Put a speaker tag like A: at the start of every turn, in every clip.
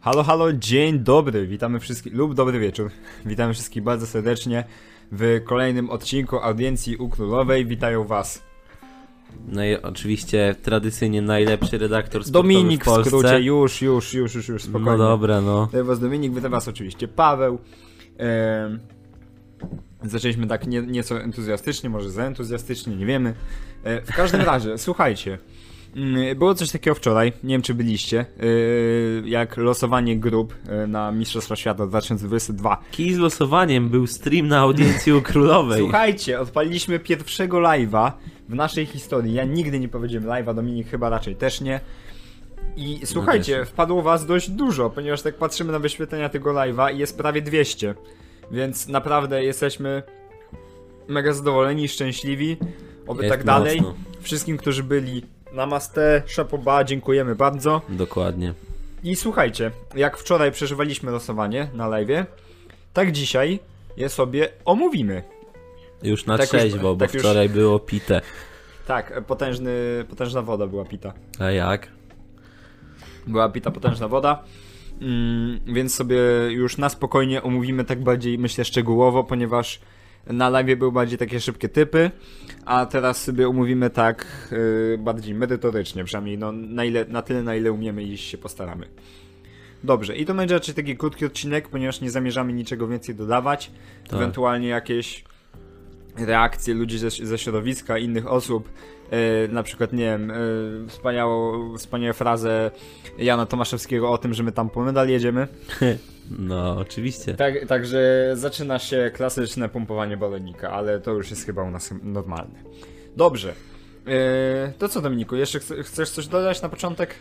A: Halo, halo, dzień dobry, witamy wszystkich, lub dobry wieczór. Witamy wszystkich bardzo serdecznie w kolejnym odcinku audiencji u Królowej. Witają was
B: No i oczywiście tradycyjnie najlepszy redaktor sportowy
A: Dominik
B: w
A: w,
B: Polsce.
A: skrócie, już, już, już, już, już, spokojnie.
B: No dobra, no.
A: Witam was Dominik, witam was oczywiście Paweł. Em, zaczęliśmy tak nie, nieco entuzjastycznie, może za entuzjastycznie, nie wiemy. E, w każdym razie, słuchajcie. Mm, Było coś takiego wczoraj, nie wiem czy byliście, e, jak losowanie grup e, na Mistrzostwa Świata 2022.
B: Kij z losowaniem był stream na audiencji u królowej.
A: Słuchajcie, odpaliliśmy pierwszego live'a w naszej historii. Ja nigdy nie powiedziałem live'a, Dominik chyba raczej też nie.
B: No
A: I słuchajcie, wpadło was dość dużo, ponieważ tak patrzymy na wyświetlenia tego live'a i jest prawie 200. Więc naprawdę jesteśmy mega zadowoleni i szczęśliwi. Oby
B: Jest
A: tak dalej.
B: mocno.
A: Wszystkim, którzy byli namaste, szapoba, dziękujemy bardzo.
B: Dokładnie.
A: I słuchajcie, jak wczoraj przeżywaliśmy losowanie na live'ie, tak dzisiaj je sobie omówimy.
B: Już na
A: Tak już-
B: trzeźwo, bo
A: tak już-
B: wczoraj było pite.
A: Tak, potężny, potężna woda była pita.
B: A jak?
A: Była pita potężna woda. Mm, więc sobie już na spokojnie omówimy tak bardziej, myślę, szczegółowo, ponieważ na live były bardziej takie szybkie typy, a teraz sobie omówimy tak yy, bardziej merytorycznie, przynajmniej no, na, ile, na tyle, na ile umiemy i się postaramy. Dobrze, i to będzie raczej taki krótki odcinek, ponieważ nie zamierzamy niczego więcej dodawać.
B: Tak.
A: Ewentualnie jakieś reakcje ludzi ze, ze środowiska, innych osób. e, na przykład, nie wiem, yy, wspaniałą, wspaniałą frazę Jana Tomaszewskiego o tym, że my tam po medal jedziemy.
B: No, oczywiście.
A: Tak, także zaczyna się klasyczne pompowanie balonika, ale to już jest chyba u nas normalne. Dobrze. E, to co, Dominiku, jeszcze chce- chcesz coś dodać na początek?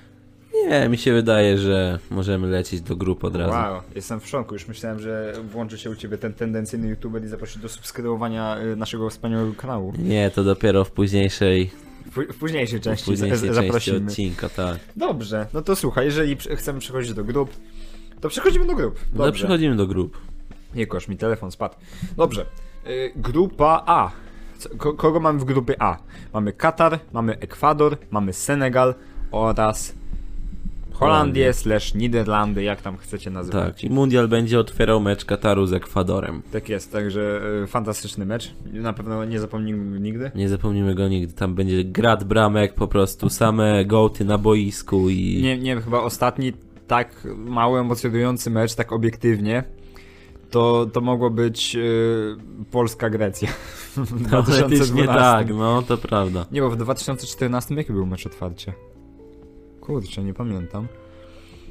B: Nie, mi się wydaje, że możemy lecieć do grup od razu.
A: Wow, jestem w szoku. Już myślałem, że włączy się u ciebie ten tendencyjny youtuber i zaprosi do subskrybowania y, naszego wspaniałego kanału.
B: Nie, to dopiero w późniejszej,
A: W, pó- w późniejszej
B: w
A: części z-
B: późniejszej
A: z-
B: części
A: zaprosimy.
B: odcinka, tak.
A: Dobrze, no to słuchaj, jeżeli prze- chcemy przechodzić do grup, to przechodzimy do grup.
B: No to
A: Dobrze.
B: przechodzimy do grup.
A: Nie kosz, mi telefon spadł. Dobrze. Y, grupa A. Co, ko, kogo mamy w grupie A? Mamy Katar, mamy Ekwador, mamy Senegal oraz Holandię
B: Holandię.
A: slash Niderlandy, jak tam chcecie nazywać.
B: Tak, i mundial będzie otwierał mecz Kataru z Ekwadorem.
A: Tak jest, także y, fantastyczny mecz. Na pewno nie zapomnimy go nigdy.
B: Nie zapomnimy go nigdy, tam będzie grad bramek, po prostu same gołty na boisku i...
A: Nie, nie wiem, chyba ostatni tak mało emocjonujący mecz, tak obiektywnie, to, to mogło być y, Polska-Grecja w
B: no, Teoretycznie
A: 2012.
B: tak, no to prawda.
A: Nie, bo w 2014 jaki był mecz otwarcie? Kurczę, nie pamiętam.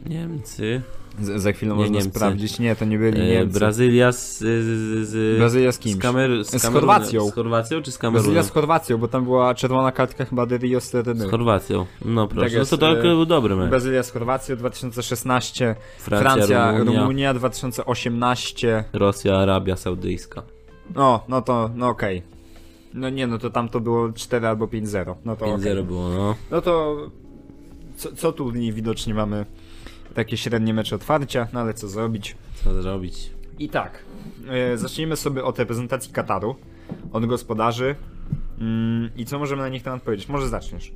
B: Niemcy.
A: Z, za chwilę
B: Nie,
A: można
B: Niemcy.
A: sprawdzić. Nie, to nie byli
B: E,
A: Niemcy.
B: Brazylia z, z, z, z,
A: Brazylia z kimś.
B: z, Kamer, z,
A: Z
B: Kamerunem-
A: Chorwacją.
B: Z Chorwacją czy z
A: Brazylia
B: Kamerunem?
A: z Chorwacją, bo tam była czerwona kartka chyba de Rio Sereny.
B: Z Chorwacją. No proszę,
A: jest,
B: no to
A: e,
B: tak był dobry mecz.
A: Brazylia z Chorwacją 2016,
B: Francja, Rumunia,
A: 2018.
B: Rosja, Arabia Saudyjska.
A: No, no to, no okej. No nie, no to tam to było 4 albo 5-0. No to
B: 5-0
A: okej.
B: było, no.
A: No to co, co tu nie widocznie mamy takie średnie mecze otwarcia, no ale co zrobić.
B: Co zrobić?
A: I tak, e, zacznijmy sobie od reprezentacji Kataru, od gospodarzy. Mm, I co możemy na nich temat powiedzieć? Może zaczniesz.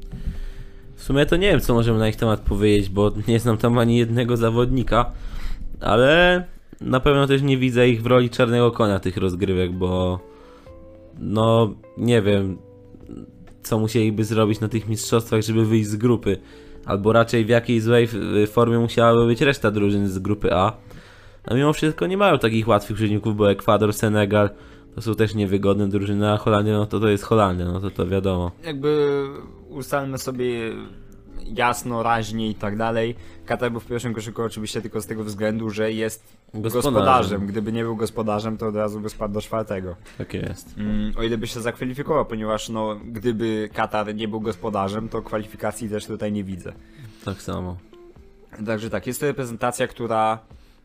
B: W sumie to nie wiem, co możemy na ich temat powiedzieć, bo nie znam tam ani jednego zawodnika, ale na pewno też nie widzę ich w roli czarnego konia tych rozgrywek, bo no nie wiem, co musieliby zrobić na tych mistrzostwach, żeby wyjść z grupy, albo raczej w jakiej złej f- formie musiałaby być reszta drużyn z grupy A. A mimo wszystko nie mają takich łatwych przeciwników, bo Ekwador, Senegal to są też niewygodne drużyny, a Holandia, no to to jest Holandia, no to to wiadomo.
A: Jakby ustalmy sobie jasno, raźnie i tak dalej. Katar był w pierwszym koszyku oczywiście tylko z tego względu, że jest gospodarzem.
B: Gospodarzem.
A: Gdyby nie był gospodarzem, to od razu by spadł do czwartego.
B: Tak jest.
A: Mm, o ile by się zakwalifikował, ponieważ no, gdyby Katar nie był gospodarzem, to kwalifikacji też tutaj nie widzę.
B: Tak samo.
A: Także tak, jest to reprezentacja, która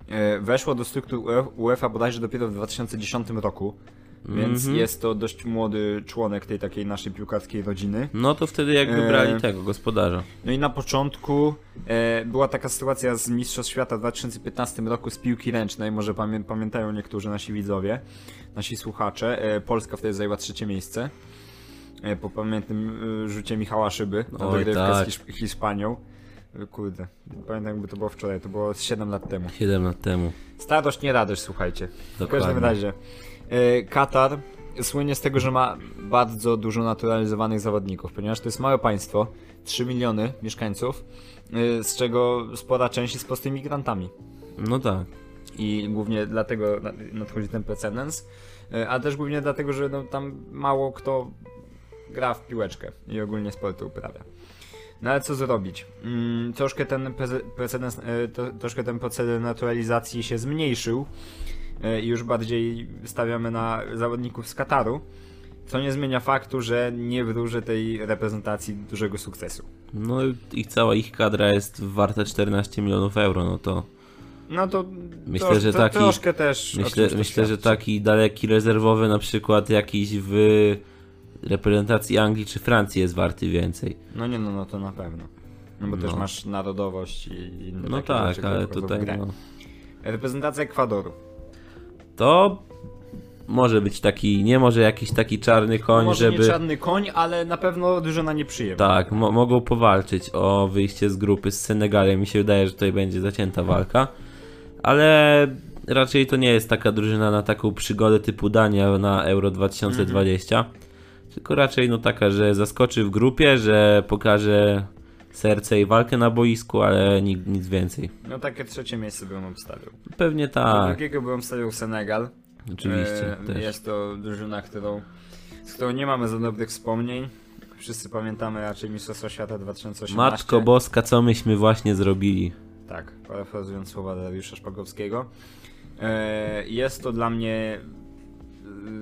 A: e, weszła do struktur UE- UEFA bodajże dopiero w 2010 roku, więc jest to dość młody członek tej takiej naszej piłkarskiej rodziny.
B: No to wtedy jak
A: E,
B: wybrali tego gospodarza.
A: No i na początku e, była taka sytuacja z Mistrzostw Świata w 2015 roku z piłki ręcznej, może pamię pamiętają niektórzy nasi widzowie, nasi słuchacze. E, Polska wtedy zajęła trzecie miejsce e, po pamiętnym e, rzucie Michała Szyby na
B: Oj,
A: dogrywkę
B: tak.
A: z Hisz Hiszpanią. E, Kurde, pamiętam jakby to było wczoraj, to było z 7 lat temu.
B: 7 lat temu.
A: Starość nie radość, słuchajcie. W każdym
B: Dokładnie.
A: razie, e, Katar słynie z tego, że ma bardzo dużo naturalizowanych zawodników, ponieważ to jest małe państwo, 3 miliony mieszkańców, e, z czego spora część jest prostymi migrantami.
B: No tak.
A: I głównie dlatego na- nadchodzi ten precedens, e, a też głównie dlatego, że no, tam mało kto gra w piłeczkę i ogólnie sporty uprawia. No ale co zrobić? Mm, troszkę ten prece- precedens, e, to, troszkę ten proceder naturalizacji się zmniejszył e, i już bardziej stawiamy na zawodników z Kataru, co nie zmienia faktu, że nie wróży tej reprezentacji dużego sukcesu.
B: No i cała ich kadra jest warta 14 milionów euro, no to
A: No to
B: Myślę,
A: trosz-
B: że
A: to,
B: taki-
A: troszkę też o
B: myślę,
A: czymś to
B: myślę że
A: świadczy.
B: taki daleki rezerwowy na przykład jakiś w reprezentacji Anglii czy Francji jest warty więcej.
A: No nie, no, no to na pewno. No bo też
B: No.
A: masz narodowość i inne
B: No
A: takie
B: tak,
A: rzeczy, które
B: ale
A: wchodzą w
B: tutaj
A: grę.
B: no,
A: Reprezentacja Ekwadoru.
B: to może być taki, nie może jakiś taki czarny koń,
A: No Może
B: żeby...
A: nie czarny koń, ale na pewno dużo na nieprzyjemność.
B: Tak, mo- mogą powalczyć o wyjście z grupy z Senegalem. Mi się wydaje, że tutaj będzie zacięta walka. Ale raczej to nie jest taka drużyna na taką przygodę typu Dania na Euro 2020.
A: Mhm.
B: Tylko raczej no taka, że zaskoczy w grupie, że pokaże serce i walkę na boisku, ale nic, nic więcej.
A: No takie trzecie miejsce bym obstawiał.
B: Pewnie
A: Do
B: tak,
A: drugiego bym obstawiał Senegal.
B: oczywiście.
A: No, E,
B: też.
A: Jest to drużyna, którą, z którą nie mamy za dobrych wspomnień. Wszyscy pamiętamy raczej Mistrzostwa Świata 2018.
B: Matko Boska, co myśmy właśnie zrobili.
A: Tak, parafrazując słowa Dariusza Szpagowskiego. E, Jest to dla mnie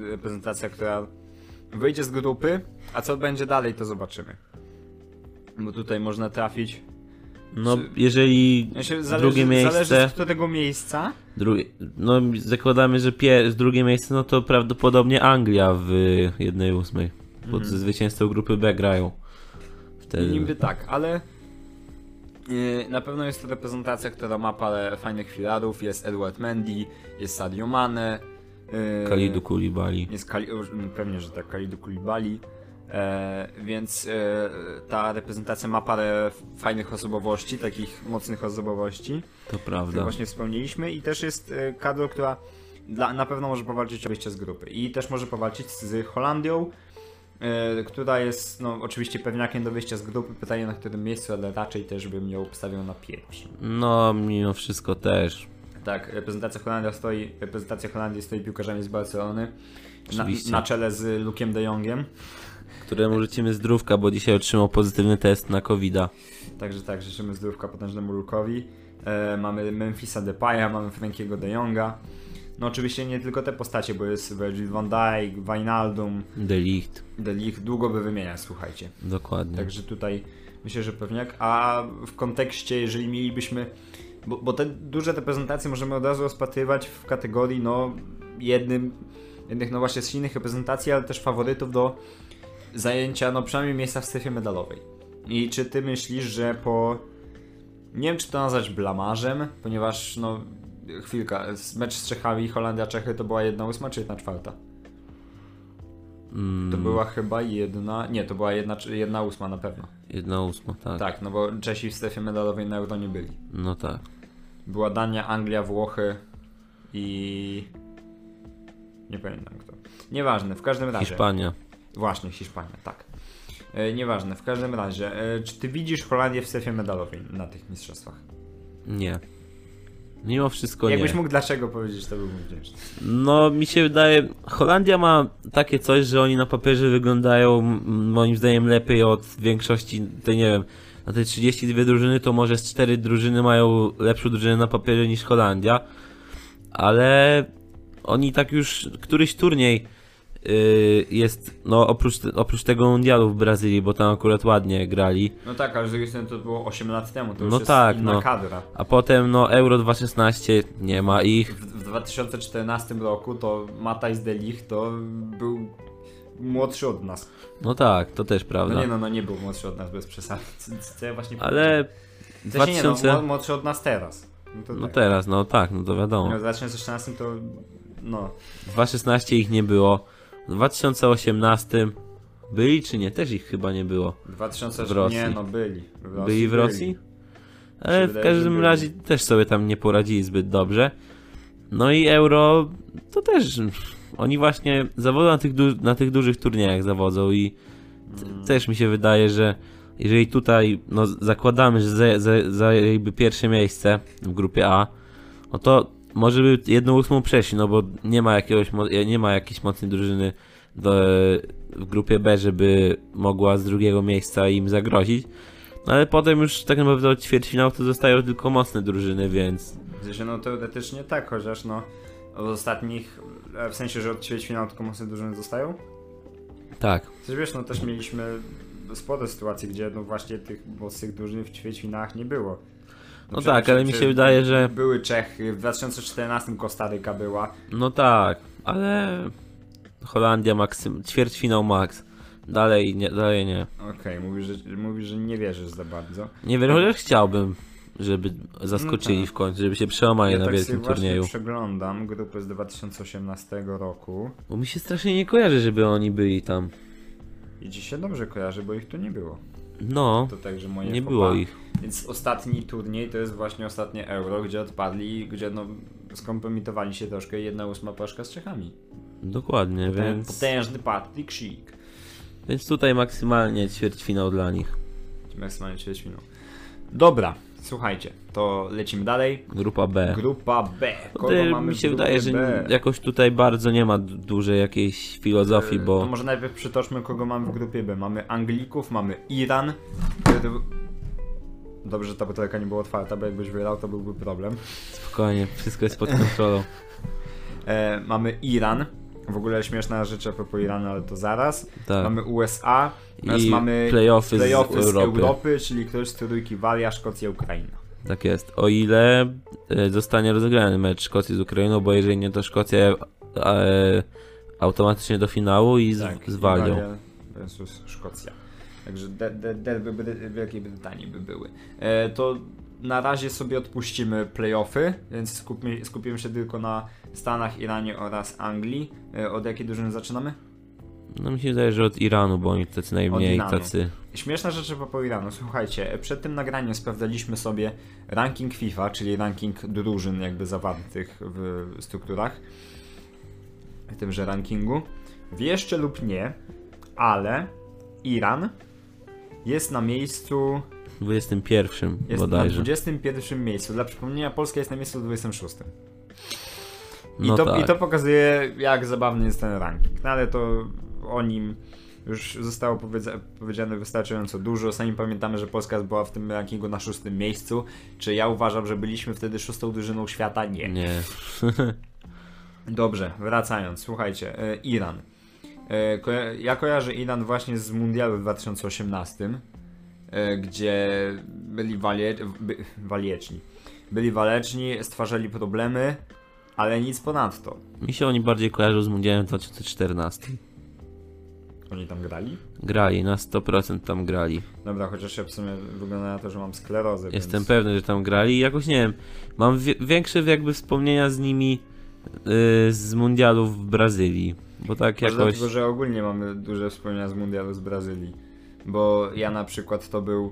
A: e, reprezentacja, która wyjdzie z grupy, a co będzie dalej, to zobaczymy. Bo tutaj można trafić.
B: No,
A: Czy-
B: jeżeli
A: Znaczy, zależy,
B: drugie miejsce...
A: zależy z którego miejsca.
B: Drugie, no zakładamy, że pier- drugie miejsce, no to prawdopodobnie Anglia w 1-8. Pod zwycięstwo grupy B grają. Wtedy.
A: Mhm. Niby tak, ale e, na pewno jest to reprezentacja, która ma parę fajnych filarów. Jest Edward Mendy, jest Sadio Mane. e,
B: Kalidu Kulibali.
A: Jest Kali... o, m, pewnie, że tak, Kalidu Kulibali. E, więc e, ta reprezentacja ma parę f- fajnych osobowości, takich mocnych osobowości,
B: To
A: o
B: prawda.
A: których właśnie wspomnieliśmy. I też jest e, kadro, która dla, na pewno może powalczyć o wyjście z grupy. I też może powalczyć z Holandią, e, która jest no, oczywiście pewniakiem do wyjścia z grupy. Pytanie na którym miejscu, ale raczej też bym ją obstawiał na pierwszym.
B: No, mimo wszystko też.
A: Tak, reprezentacja Holandii stoi, reprezentacja Holandii stoi piłkarzami z Barcelony. Na,
B: Oczywiście.
A: na czele z Lukiem de Jongiem.
B: Któremu życzymy zdrówka, bo dzisiaj otrzymał pozytywny test na covid
A: Także tak, życzymy zdrówka potężnemu Lukowi. E, mamy Memphisa Depaya, mamy Frankiego de Jonga. No oczywiście nie tylko te postacie, bo jest Virgil van Dijk, Wijnaldum,
B: Delicht.
A: Delich, długo by wymieniać, słuchajcie.
B: Dokładnie.
A: Także tutaj myślę, że pewniak. A w kontekście, jeżeli mielibyśmy. Bo, bo te duże reprezentacje możemy od razu rozpatrywać w kategorii, no, jednym, jednych, no właśnie, z silnych reprezentacji, ale też faworytów do zajęcia, no przynajmniej miejsca w strefie medalowej. I czy ty myślisz, że po. Nie wiem, czy to nazwać blamarzem, ponieważ, no, chwilka, mecz z Czechami, Holandia, Czechy to była jedna ósma czy jedna czwarta?
B: Mm,
A: To była chyba jedna. Nie, to była jedna, jedna ósma na pewno.
B: Jedna ósma, tak.
A: Tak, no bo Czesi w strefie medalowej na Euro nie byli.
B: No tak.
A: Była Dania, Anglia, Włochy i... Nie pamiętam kto. Nieważne, w każdym razie.
B: Hiszpania.
A: Właśnie, Hiszpania, tak. E, nieważne, w każdym razie. E, czy ty widzisz Holandię w strefie medalowej na tych mistrzostwach?
B: Nie. Mimo wszystko nie.
A: Jakbyś mógł dlaczego powiedzieć, to byłbym wdzięczny.
B: No, mi się wydaje, Holandia ma takie coś, że oni na papierze wyglądają m, moim zdaniem lepiej od większości, to nie wiem, na te 32 drużyny to może z 4 drużyny mają lepszą drużynę na papierze niż Holandia, ale oni tak już, któryś turniej yy, jest, no oprócz, te- oprócz tego mundialu w Brazylii, bo tam akurat ładnie grali,
A: No tak, ale z drugiej strony to było 8 lat temu, to już
B: No
A: jest
B: tak,
A: inna
B: no.
A: kadra.
B: a potem no Euro 2016 nie ma ich,
A: W, w 2014 roku to Matthijs de Ligt to był młodszy od nas.
B: no tak, to też prawda,
A: No nie no, no nie był młodszy od nas bez przesady. Co, co ja właśnie powiedziałem?
B: ale...
A: W sensie nie,
B: 2000...
A: no, mł- młodszy od nas teraz. No to
B: No
A: tak.
B: teraz, no tak, no to wiadomo.
A: No, w 2016 to no,
B: W 2016 ich nie było. W 2018 byli czy nie? Też ich chyba nie było.
A: w 2016
B: W Rosji.
A: nie, no byli. W
B: Byli w Rosji? Ale
A: się
B: w
A: wydaje, że
B: każdym
A: byli.
B: razie też sobie tam nie poradzili zbyt dobrze. No i euro to też. Oni właśnie zawodzą na tych, du- na tych dużych turniejach zawodzą i t-
A: Mm.
B: też mi się wydaje, że jeżeli tutaj no, zakładamy, że za- za- zajęliby pierwsze miejsce w grupie A, no to może by jedną ósmą przeszli, no bo nie ma jakiegoś mo- e, nie ma jakiejś mocnej drużyny do, w grupie B, żeby mogła z drugiego miejsca im zagrozić. No ale potem już tak naprawdę od ćwierćfinału to zostają tylko mocne drużyny, więc
A: W sensie, no teoretycznie tak, chociaż no od ostatnich, e, w sensie, że od ćwierćfinału tylko mocno dużo zostają.
B: tak.
A: Przecież wiesz, no też mieliśmy spore sytuacje, gdzie no właśnie tych mocnych dużych w ćwierćfinałach nie było.
B: No
A: przecież-
B: tak, ale mi się
A: przecież
B: wydaje, że-
A: Były Czechy, w 2014 Kostaryka była.
B: No tak, ale Holandia maksym, ćwierćfinał max. Dalej nie, dalej nie.
A: Okej, mówisz, że, mówisz, że nie wierzysz za bardzo.
B: Nie wiem, chociaż chciałbym, żeby zaskoczyli
A: No tak.
B: w końcu, żeby się przełamali
A: ja
B: na
A: tak
B: wielkim
A: sobie
B: turnieju.
A: właśnie przeglądam grupy z 2018 roku
B: Bo mi się strasznie nie kojarzy, żeby oni byli tam.
A: i ci się dobrze kojarzy, bo ich tu nie było.
B: No,
A: To tak, że moje
B: nie
A: popa-
B: było ich.
A: Więc ostatni turniej to jest właśnie ostatnie euro, gdzie odpadli, gdzie no skompromitowali się troszkę jedna ósma porażka z Czechami.
B: Dokładnie,
A: Ten
B: więc,
A: potężny Patrick Schick.
B: więc tutaj maksymalnie ćwierćfinał dla nich.
A: Maksymalnie 30 minut. Dobra, słuchajcie, to lecimy dalej.
B: Grupa B.
A: Grupa B.
B: Tak. Tutaj mi
A: w
B: się
A: grupie
B: wydaje, że
A: B?
B: n- jakoś tutaj bardzo nie ma d- dużej jakiejś filozofii,
A: Y, To
B: bo
A: może najpierw przytoczmy, kogo mamy w grupie B. Mamy Anglików, mamy Iran. który- Dobrze, że ta butelka nie była otwarta, bo jakbyś wylał, to byłby problem.
B: spokojnie, wszystko jest pod kontrolą.
A: E, mamy Iran. W ogóle śmieszna rzecz a propos Iranu, ale to zaraz.
B: Tak.
A: Mamy USA. Teraz
B: I
A: mamy
B: playoffy z
A: playoffy
B: Europy.
A: czyli ktoś z trójki Walia, Szkocja, Ukraina.
B: Tak jest. O ile e, zostanie rozegrany mecz Szkocji z Ukrainą, bo jeżeli nie, to Szkocja e, automatycznie do finału i z,
A: Tak,
B: z Walią.
A: Iwalia versus Szkocja. Także de- de- derby Bry- Wielkiej Brytanii by były. E, to na razie sobie odpuścimy playoffy, więc skupmy, skupimy się tylko na Stanach, Iranie oraz Anglii. E, od jakiej drużyny zaczynamy?
B: No mi się wydaje, że od Iranu, bo oni tacy najmniej
A: Iranu.
B: tacy.
A: Śmieszna rzecz po Iranu. Słuchajcie, przed tym nagraniem sprawdzaliśmy sobie ranking FIFA, czyli ranking drużyn jakby zawartych w strukturach w tymże rankingu. Wieszcie lub nie, ale Iran jest na miejscu,
B: 21
A: jest
B: bodajże.
A: na 21 miejscu. Dla przypomnienia Polska jest na miejscu 26. I,
B: No
A: to,
B: tak.
A: I to pokazuje, jak zabawny jest ten ranking. No ale to o nim już zostało powiedza- powiedziane wystarczająco dużo. Sami pamiętamy, że Polska była w tym rankingu na szóstym miejscu. Czy ja uważam, że byliśmy wtedy szóstą drużyną świata? Nie.
B: Nie.
A: Dobrze, wracając. Słuchajcie, e, Iran. E, koja- ja kojarzę Iran właśnie z mundialu w 2018, e, gdzie byli walie- by- walieczni. Byli waleczni, stwarzali problemy, ale nic ponadto.
B: mi się oni bardziej kojarzą z mundialem 2014.
A: Oni tam grali?
B: Grali, na 100% tam grali.
A: Dobra, chociaż ja w sumie wygląda na to, że mam sklerozę.
B: Jestem
A: więc...
B: pewny, że tam grali. Jakoś nie wiem. Mam wie- większe jakby wspomnienia z nimi y, z mundialu w Brazylii. Bo tak
A: Może
B: jakoś.
A: Dlatego, że ogólnie mamy duże wspomnienia z mundialu z Brazylii. Bo ja na przykład to był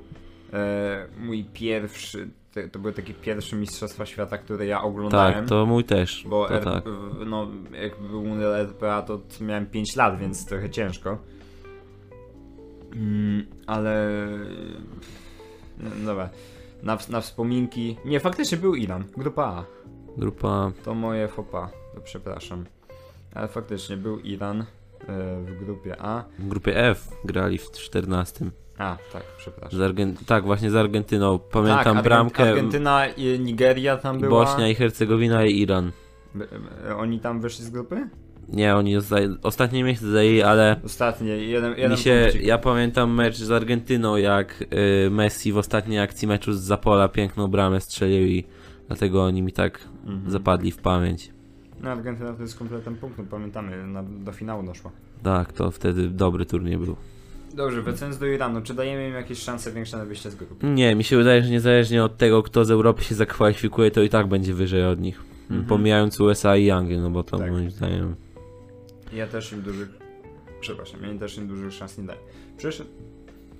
A: e, mój pierwszy, te, to były takie pierwsze Mistrzostwa Świata, które ja oglądałem.
B: Tak, to mój też.
A: Bo
B: to
A: R-
B: tak.
A: w- no, jak był mundial RPA, to t- miałem 5 lat, więc trochę ciężko. Mm, ale... No, dobra. Na, w- na wspominki... Nie, faktycznie był Iran, grupa A.
B: Grupa.
A: To moje fopa, to przepraszam. Ale faktycznie był Iran e, w grupie A.
B: W grupie F grali w 14.
A: A, tak,
B: Z
A: przepraszam.
B: Argen... Tak, właśnie z Argentyną. Pamiętam
A: tak, Argen-
B: bramkę.
A: Argentyna i Nigeria tam była.
B: Bośnia i Hercegowina i Iran.
A: B- e, Oni tam wyszli z grupy?
B: Nie, oni zaj- ostatnie miejsce zajęli, ale
A: Ostatnie, jeden, jeden
B: mi się,
A: punkcik.
B: ja pamiętam mecz z Argentyną, jak y, Messi w ostatniej akcji meczu z Zapola piękną bramę strzelił i dlatego oni mi tak zapadli w pamięć.
A: Mhm. No, Argentyna to jest kompletem punktem, pamiętamy, na, do finału doszła.
B: Tak, to wtedy dobry turniej był.
A: Dobrze, wracając do Iranu, czy dajemy im jakieś szanse większe na wyjście z grupy?
B: Nie, mi się wydaje, że niezależnie od tego, kto z Europy się zakwalifikuje, to i tak będzie wyżej od nich. Pomijając USA i Anglię, no bo to
A: Tak.
B: moim zdaniem.
A: Ja też im dużych... Przepraszam, ja im też im dużych szans nie daję. Przeszedł...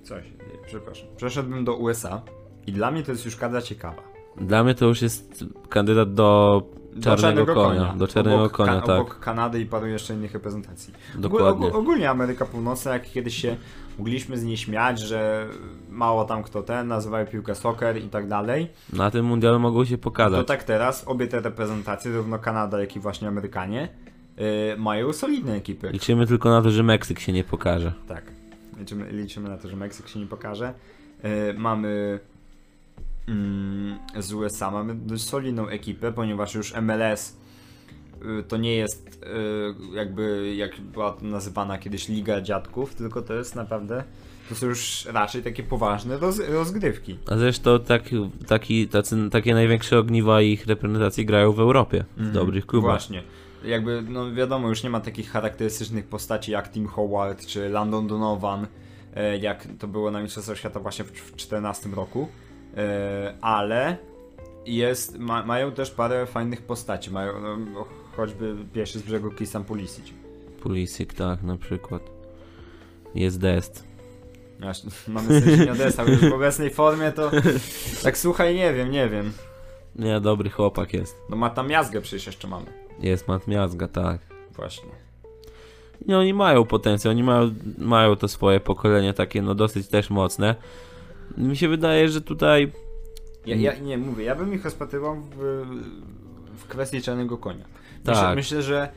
A: Coś, przepraszam. Przeszedłbym do USA, I dla mnie to jest już kadra ciekawa.
B: Dla mnie to już jest kandydat do
A: Do
B: czarnego, konia. Do czarnego
A: obok,
B: konia,
A: ka-
B: tak.
A: Obok Kanady i paru jeszcze innych reprezentacji. Ogó-
B: Dokładnie.
A: ogó- ogólnie Ameryka Północna, jak kiedyś się mogliśmy z niej śmiać, że mało tam kto ten, nazywają piłkę soccer i tak dalej.
B: Na tym mundialu mogło się pokazać.
A: To tak teraz obie te reprezentacje, zarówno Kanada, jak i właśnie Amerykanie, yy, mają solidne ekipy.
B: Liczymy tylko na to, że Meksyk się nie pokaże.
A: Tak. Liczymy, liczymy na to, że Meksyk się nie pokaże. E, mamy mm, z USA mamy dość solidną ekipę, ponieważ już MLS y, to nie jest y, jakby jak była to nazywana kiedyś Liga Dziadków, tylko to jest naprawdę to są już raczej takie poważne roz, rozgrywki.
B: A zresztą tak, taki, tacy, takie największe ogniwa ich reprezentacji grają w Europie, w dobrych klubach.
A: Właśnie. Jakby, no wiadomo, już nie ma takich charakterystycznych postaci jak Tim Howard czy Landon Donovan, e, jak to było na Mistrzostwach Świata właśnie w 2014 roku, E, ale jest, ma, mają też parę fajnych postaci, mają no, choćby pierwszy z brzegu Christian Pulisic.
B: Pulisic, tak, na przykład. Jest dest.
A: Aż, mamy sensie nie odesłał już w obecnej formie, to tak słuchaj, nie wiem, nie wiem.
B: Nie, dobry chłopak jest.
A: No ma tam jazgę przecież jeszcze mamy.
B: Jest Mat Miazga, tak.
A: Właśnie.
B: Nie, oni mają potencjał, oni mają, mają to swoje pokolenie takie, no dosyć też mocne. Mi się wydaje, że tutaj
A: Ja,
B: Mm.
A: ja nie mówię, ja bym ich rozpatrywał w, w kwestii czarnego konia. Myślę,
B: Tak.
A: myślę że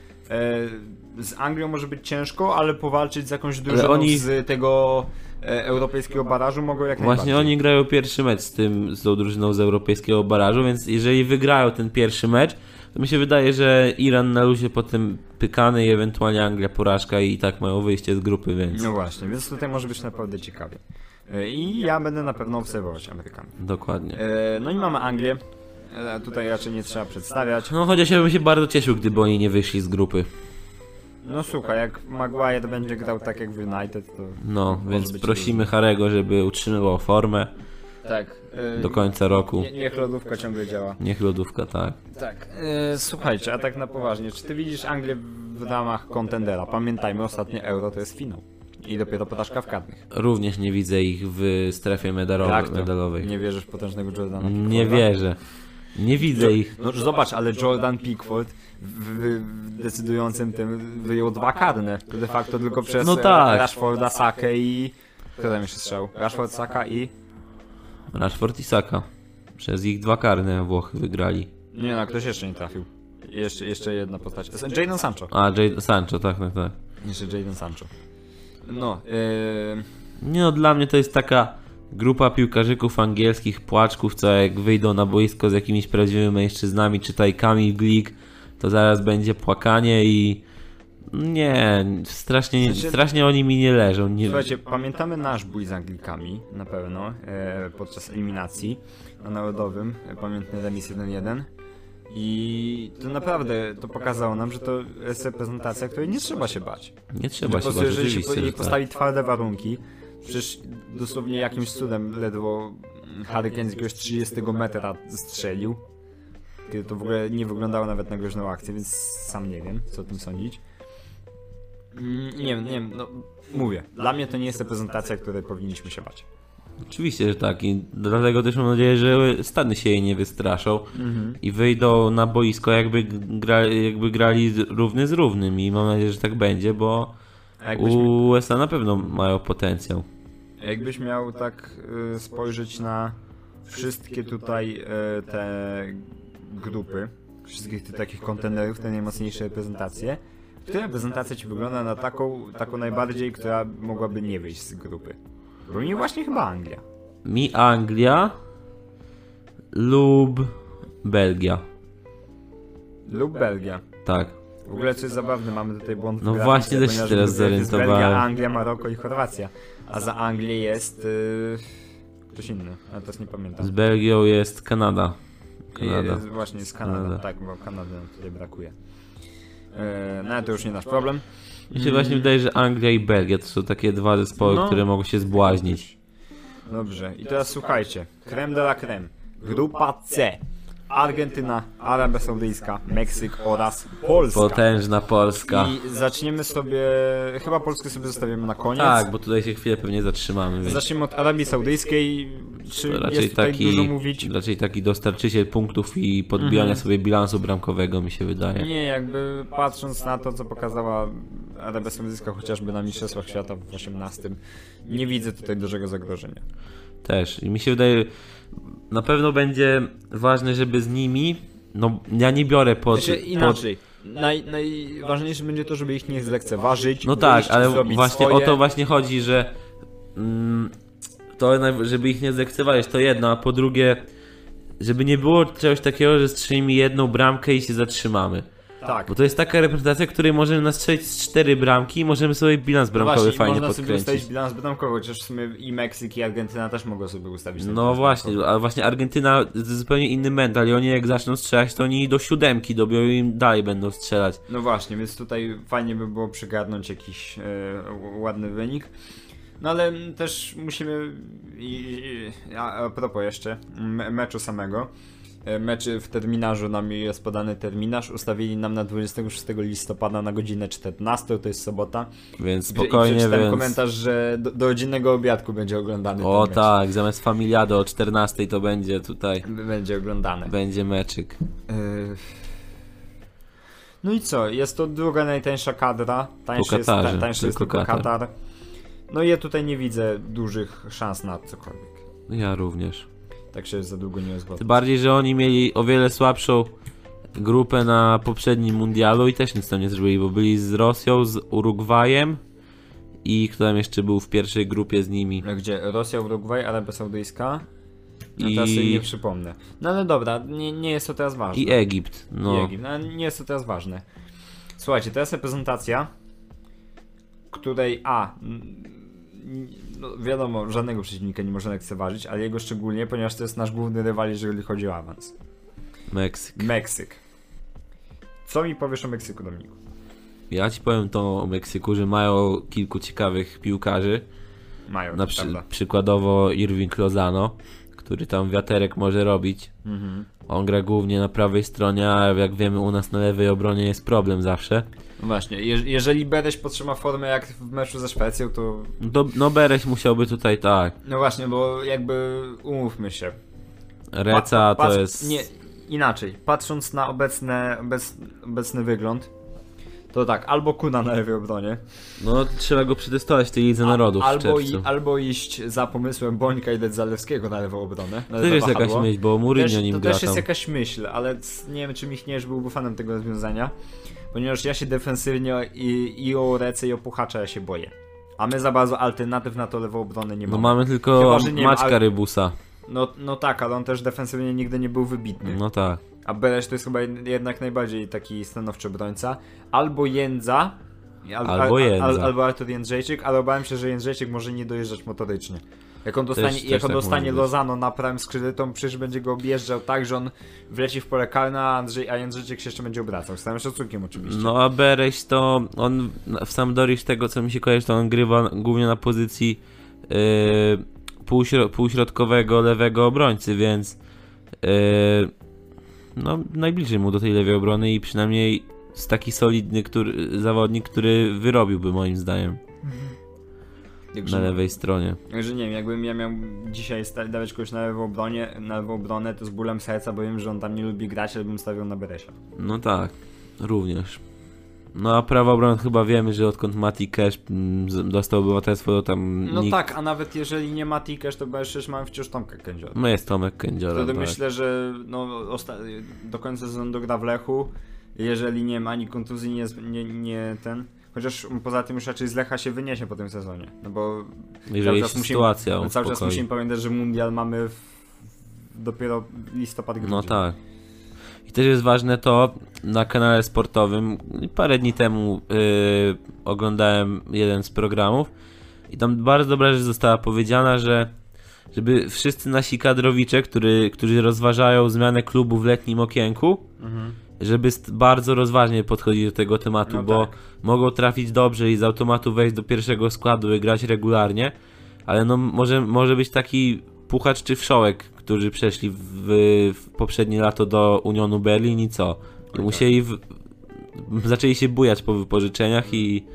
A: e, z Anglią może być ciężko, ale powalczyć z jakąś drużyną
B: oni-
A: z tego e, europejskiego barażu mogą jak najbardziej.
B: Właśnie oni grają pierwszy mecz z tym, z tą drużyną z europejskiego barażu, więc jeżeli wygrają ten pierwszy mecz, to mi się wydaje, że Iran na luzie potem pykany i ewentualnie Anglia porażka i tak mają wyjście z grupy, więc
A: No właśnie, więc tutaj może być naprawdę ciekawie. E, I ja będę na pewno obserwować Amerykanów.
B: dokładnie.
A: E, no i mamy Anglię. E, tutaj raczej nie trzeba przedstawiać.
B: No chociaż ja bym się bardzo cieszył, gdyby oni nie wyszli z grupy.
A: No słuchaj, jak Maguire będzie grał tak jak w United, to...
B: No,
A: może
B: więc
A: być
B: prosimy Harego, żeby utrzymywał formę
A: różnie. Tak. e,
B: do końca roku.
A: nie- Niech lodówka ciągle działa.
B: Niech lodówka, tak.
A: Tak. E, słuchajcie, a tak na poważnie, czy ty widzisz Anglię w ramach kontendera? Pamiętajmy, ostatnie euro to jest finał. I dopiero porażka w karnych. Tak,
B: Również nie widzę ich w strefie medalowej.
A: to?
B: medalowej.
A: Nie wierzysz w potężnego Jordana?
B: Nie,
A: Pickforda?
B: wierzę. Nie widzę ich.
A: No zobacz, ale Jordan Pickford w, w, w decydującym tym wyjął dwa karne. To de facto tylko przez
B: No
A: e,
B: tak.
A: Rashforda, Sakę i... Kto tam jeszcze strzał? Rashford, Saka i...
B: Rashford i Saka. Przez ich dwa karne Włochy wygrali.
A: Nie no, ktoś jeszcze nie trafił. Jeszcze, jeszcze jedna postać. Jadon Sancho.
B: A, Jadon Sancho, tak, tak, tak.
A: Jeszcze Jadon Sancho. No, yy...
B: Nie no, dla mnie to jest taka grupa piłkarzyków angielskich, płaczków, co jak wyjdą na boisko z jakimiś prawdziwymi mężczyznami, czytajkami w glik, to zaraz będzie płakanie i... Nie, strasznie,
A: sensie-
B: strasznie oni mi nie leżą. Nie...
A: Słuchajcie, pamiętamy nasz bój z Anglikami na pewno e, podczas eliminacji na Narodowym, e, pamiętny remis 1-1 i to naprawdę to pokazało nam, że to jest reprezentacja, której nie trzeba się bać.
B: Nie trzeba
A: po
B: się bać,
A: prostu, jeżeli się
B: rzeczywiście,
A: po- jej
B: że tak.
A: postawi twarde warunki, przecież dosłownie jakimś cudem ledwo mm, Harry Kane z jakiegoś 30 metra strzelił, kiedy to w ogóle nie wyglądało nawet na groźną akcję, więc sam nie wiem, co o tym sądzić. Mm, Nie wiem, nie wiem, no mówię, dla mnie to nie jest reprezentacja, której powinniśmy się bać.
B: Oczywiście, że tak i dlatego też mam nadzieję, że Stany się jej nie wystraszą
A: Mhm.
B: i wyjdą na boisko jakby, gra, jakby grali z- równy z równym i mam nadzieję, że tak będzie, bo
A: A jakbyś,
B: USA na pewno mają potencjał.
A: jakbyś miał tak y, spojrzeć na wszystkie tutaj y, te grupy, wszystkich tych takich kontenerów, te najmocniejsze reprezentacje, która reprezentacja ci wygląda na taką, taką najbardziej, która mogłaby nie wyjść z grupy? Bo mi właśnie chyba Anglia.
B: Mi Anglia lub Belgia,
A: Lub Belgia.
B: tak.
A: W ogóle co jest zabawne, mamy tutaj błąd. w
B: No
A: grafice,
B: właśnie, też się
A: ponieważ
B: teraz
A: w grupie jest
B: zorientowałem.
A: Belgia, Anglia, Maroko i Chorwacja. A za Anglię jest y, ktoś inny, ale teraz nie pamiętam.
B: Z Belgią jest Kanada.
A: Kanada.
B: Kanada.
A: Jest właśnie z Kanadą,
B: Kanada.
A: tak, bo Kanady nam tutaj brakuje. E, no ale to już nie nasz problem.
B: Mi się właśnie wydaje, że Anglia i Belgia to są takie dwa zespoły,
A: Mm. No.
B: które mogą się zbłaźnić.
A: Dobrze, i teraz słuchajcie. Krem de la creme. Grupa C. Argentyna, Arabia Saudyjska, Meksyk oraz Polska.
B: Potężna Polska.
A: I zaczniemy sobie, chyba Polskę sobie zostawimy na koniec.
B: Tak, bo tutaj się chwilę pewnie zatrzymamy. Więc...
A: Zaczniemy od Arabii Saudyjskiej, czy
B: To
A: jest tutaj dużo mówić? Mhm.
B: raczej taki dostarczyciel punktów i podbijania sobie bilansu bramkowego mi się wydaje.
A: Nie, jakby patrząc na to, co pokazała Arabia Saudyjska chociażby na Mistrzostwach Świata w 18, nie widzę tutaj dużego zagrożenia.
B: Też. I mi się wydaje, na pewno będzie ważne, żeby z nimi. No, ja nie biorę pod.
A: Znaczy inaczej. Naj, najważniejsze będzie to, żeby ich nie zlekceważyć.
B: No tak,
A: wyjść,
B: ale
A: zrobić
B: właśnie
A: swoje.
B: o to właśnie chodzi, że mm, to, naj- żeby ich nie zlekceważyć, to jedno, a po drugie, żeby nie było czegoś takiego, że strzelimy jedną bramkę i się zatrzymamy.
A: Tak.
B: Bo to jest taka reprezentacja, której możemy nastrzelić z cztery bramki i możemy sobie bilans bramkowy
A: No Właśnie,
B: fajnie
A: można sobie ustawić
B: podkręcić.
A: bilans bramkowy, chociaż w sumie i Meksyk i Argentyna też mogą sobie ustawić. ten
B: No
A: bilans
B: właśnie, a właśnie Argentyna z- zupełnie inny mental i oni jak zaczną strzelać, to oni do siódemki dobią i im dalej będą strzelać.
A: No właśnie, więc tutaj fajnie by było przygarnąć jakiś e, ł- ładny wynik. No ale m, też musimy, i, i, a, a propos jeszcze me, meczu samego, e, meczy w terminarzu nam jest podany terminarz, ustawili nam na 26 listopada na godzinę 14, to jest sobota.
B: Więc
A: Gdzie- i
B: spokojnie,
A: przeczytałem
B: więc...
A: komentarz, że do, do godzinnego obiadku będzie oglądany
B: O
A: ten mecz.
B: tak, zamiast Familiado o 14 to będzie tutaj,
A: Będzie oglądany.
B: będzie meczyk.
A: Y, No i co? Jest to druga najtańsza kadra. Tańszy
B: Po
A: jest,
B: Katarze,
A: ta, tańszy jest
B: tylko
A: tylko Katar.
B: Katar.
A: No i ja tutaj nie widzę dużych szans na cokolwiek.
B: No Ja również.
A: Tak się za długo nie rozwodzę.
B: Tym bardziej, że oni mieli o wiele słabszą grupę na poprzednim mundialu i też nic tam nie zrobili, bo byli z Rosją, z Urugwajem i kto tam jeszcze był w pierwszej grupie z nimi.
A: Gdzie? Rosja, Urugwaj, Arabia Saudyjska. No
B: I-
A: teraz sobie nie przypomnę. No ale dobra, nie, nie jest to teraz ważne.
B: I Egipt.
A: I
B: No.
A: Egipt. No, nie jest to teraz ważne. Słuchajcie, teraz reprezentacja, której A. mm, No wiadomo, żadnego przeciwnika nie można lekceważyć, ale jego szczególnie, ponieważ to jest nasz główny rywal, jeżeli chodzi o awans.
B: Meksyk.
A: Meksyk. Co mi powiesz o Meksyku, Dominiku?
B: Ja ci powiem to o Meksyku, że mają kilku ciekawych piłkarzy.
A: Mają,
B: Na
A: na
B: przy,
A: prawda.
B: przykładowo Irving Lozano, który tam wiaterek może robić.
A: Mhm.
B: On gra głównie na prawej stronie, a jak wiemy u nas na lewej obronie jest problem zawsze.
A: No Właśnie, je jeżeli Bereś podtrzyma formę jak w meczu ze Szwecją, to...
B: No To, no Bereś musiałby tutaj tak.
A: No właśnie, bo jakby umówmy się,
B: Reca
A: Pa- pa-
B: to
A: patrz-
B: jest...
A: Nie, inaczej. Patrząc na obecne, obec, obecny wygląd, to tak, albo Kuna na lewej obronie,
B: No trzeba go przetestować w tej Lidze Narodów w
A: albo, i,
B: czerwcu.
A: albo iść za pomysłem Bońka i Zalewskiego na lewą obronę. Na
B: To
A: lewe
B: też jest jakaś
A: wahadło.
B: myśl, bo Mourinho
A: Też-
B: nim
A: To
B: gra
A: też
B: tam.
A: jest jakaś myśl, ale c- nie wiem, czy Michniesz byłby fanem tego rozwiązania, ponieważ ja się defensywnie i, i o Rece i o Puchacza ja się boję. A my za bardzo alternatyw na to lewą obronę nie
B: No
A: mamy.
B: mamy tylko
A: Chyba, że nie wiem,
B: Maćka
A: ale-
B: Rybusa.
A: No, no tak, ale on też defensywnie nigdy nie był wybitny.
B: No tak.
A: A Beresz to jest chyba jed- jednak najbardziej taki stanowczy obrońca. Albo Jędza. Al,
B: Albo Jędza.
A: albo Artur Jędrzejczyk, ale obawiam się, że Jędrzejczyk może nie dojeżdżać motorycznie. Jak on dostanie,
B: też
A: jak on
B: tak
A: dostanie
B: może być.
A: Lozano na prawym skrzydle, to on przecież będzie go objeżdżał tak, że on wleci w pole karne, a, Andrzej, a Jędrzejczyk się jeszcze będzie obracał. Z całym szacunkiem oczywiście.
B: No a Bereś to on na- w Sampdorii z tego co mi się kojarzy to on grywa głównie na pozycji yy, półśro, półśrodkowego lewego obrońcy, więc yy, no najbliżej mu do tej lewej obrony i przynajmniej jest taki solidny który, zawodnik, który wyrobiłby moim zdaniem na Mm,
A: Także-
B: lewej stronie.
A: Także nie wiem, jakbym ja miał dzisiaj sta- dawać kogoś na lewą obronie, na lewą obronę, to z bólem serca, bo wiem, że on tam nie lubi grać, ale bym stawiał na Beresia.
B: No tak, również. No a prawa obrona chyba wiemy, że odkąd Mati Cash mm, z- dostał obywatelstwo, to tam
A: No
B: nikt...
A: tak, a nawet jeżeli nie ma Tikesz, to przecież mam wciąż Tomkę Kędziora.
B: No jest Tomek Kędziora.
A: Wtedy
B: tak.
A: myślę, że no, osta- do końca sezonu dogra w Lechu. Jeżeli nie ma ani kontuzji, nie, nie, nie ten. Chociaż poza tym już raczej z Lecha się wyniesie po tym sezonie. No bo
B: Jeżeli
A: czas
B: się
A: musimy-
B: sytuacja
A: cały czas
B: uspokoi.
A: musimy pamiętać, że mundial mamy w, dopiero listopad grudzień.
B: No tak. I też jest ważne to, na kanale sportowym parę dni temu yy, oglądałem jeden z programów i tam bardzo dobra rzecz została powiedziana, że żeby wszyscy nasi kadrowicze, który, którzy rozważają zmianę klubu w letnim okienku,
A: Mhm.
B: żeby st- bardzo rozważnie podchodzić do tego tematu,
A: No
B: bo
A: tak.
B: mogą trafić dobrze i z automatu wejść do pierwszego składu i grać regularnie, ale no może, może być taki puchacz czy wszołek, którzy przeszli w, w poprzednie lato do Unionu Berlin i co? I
A: tak.
B: musieli w, zaczęli się bujać po wypożyczeniach i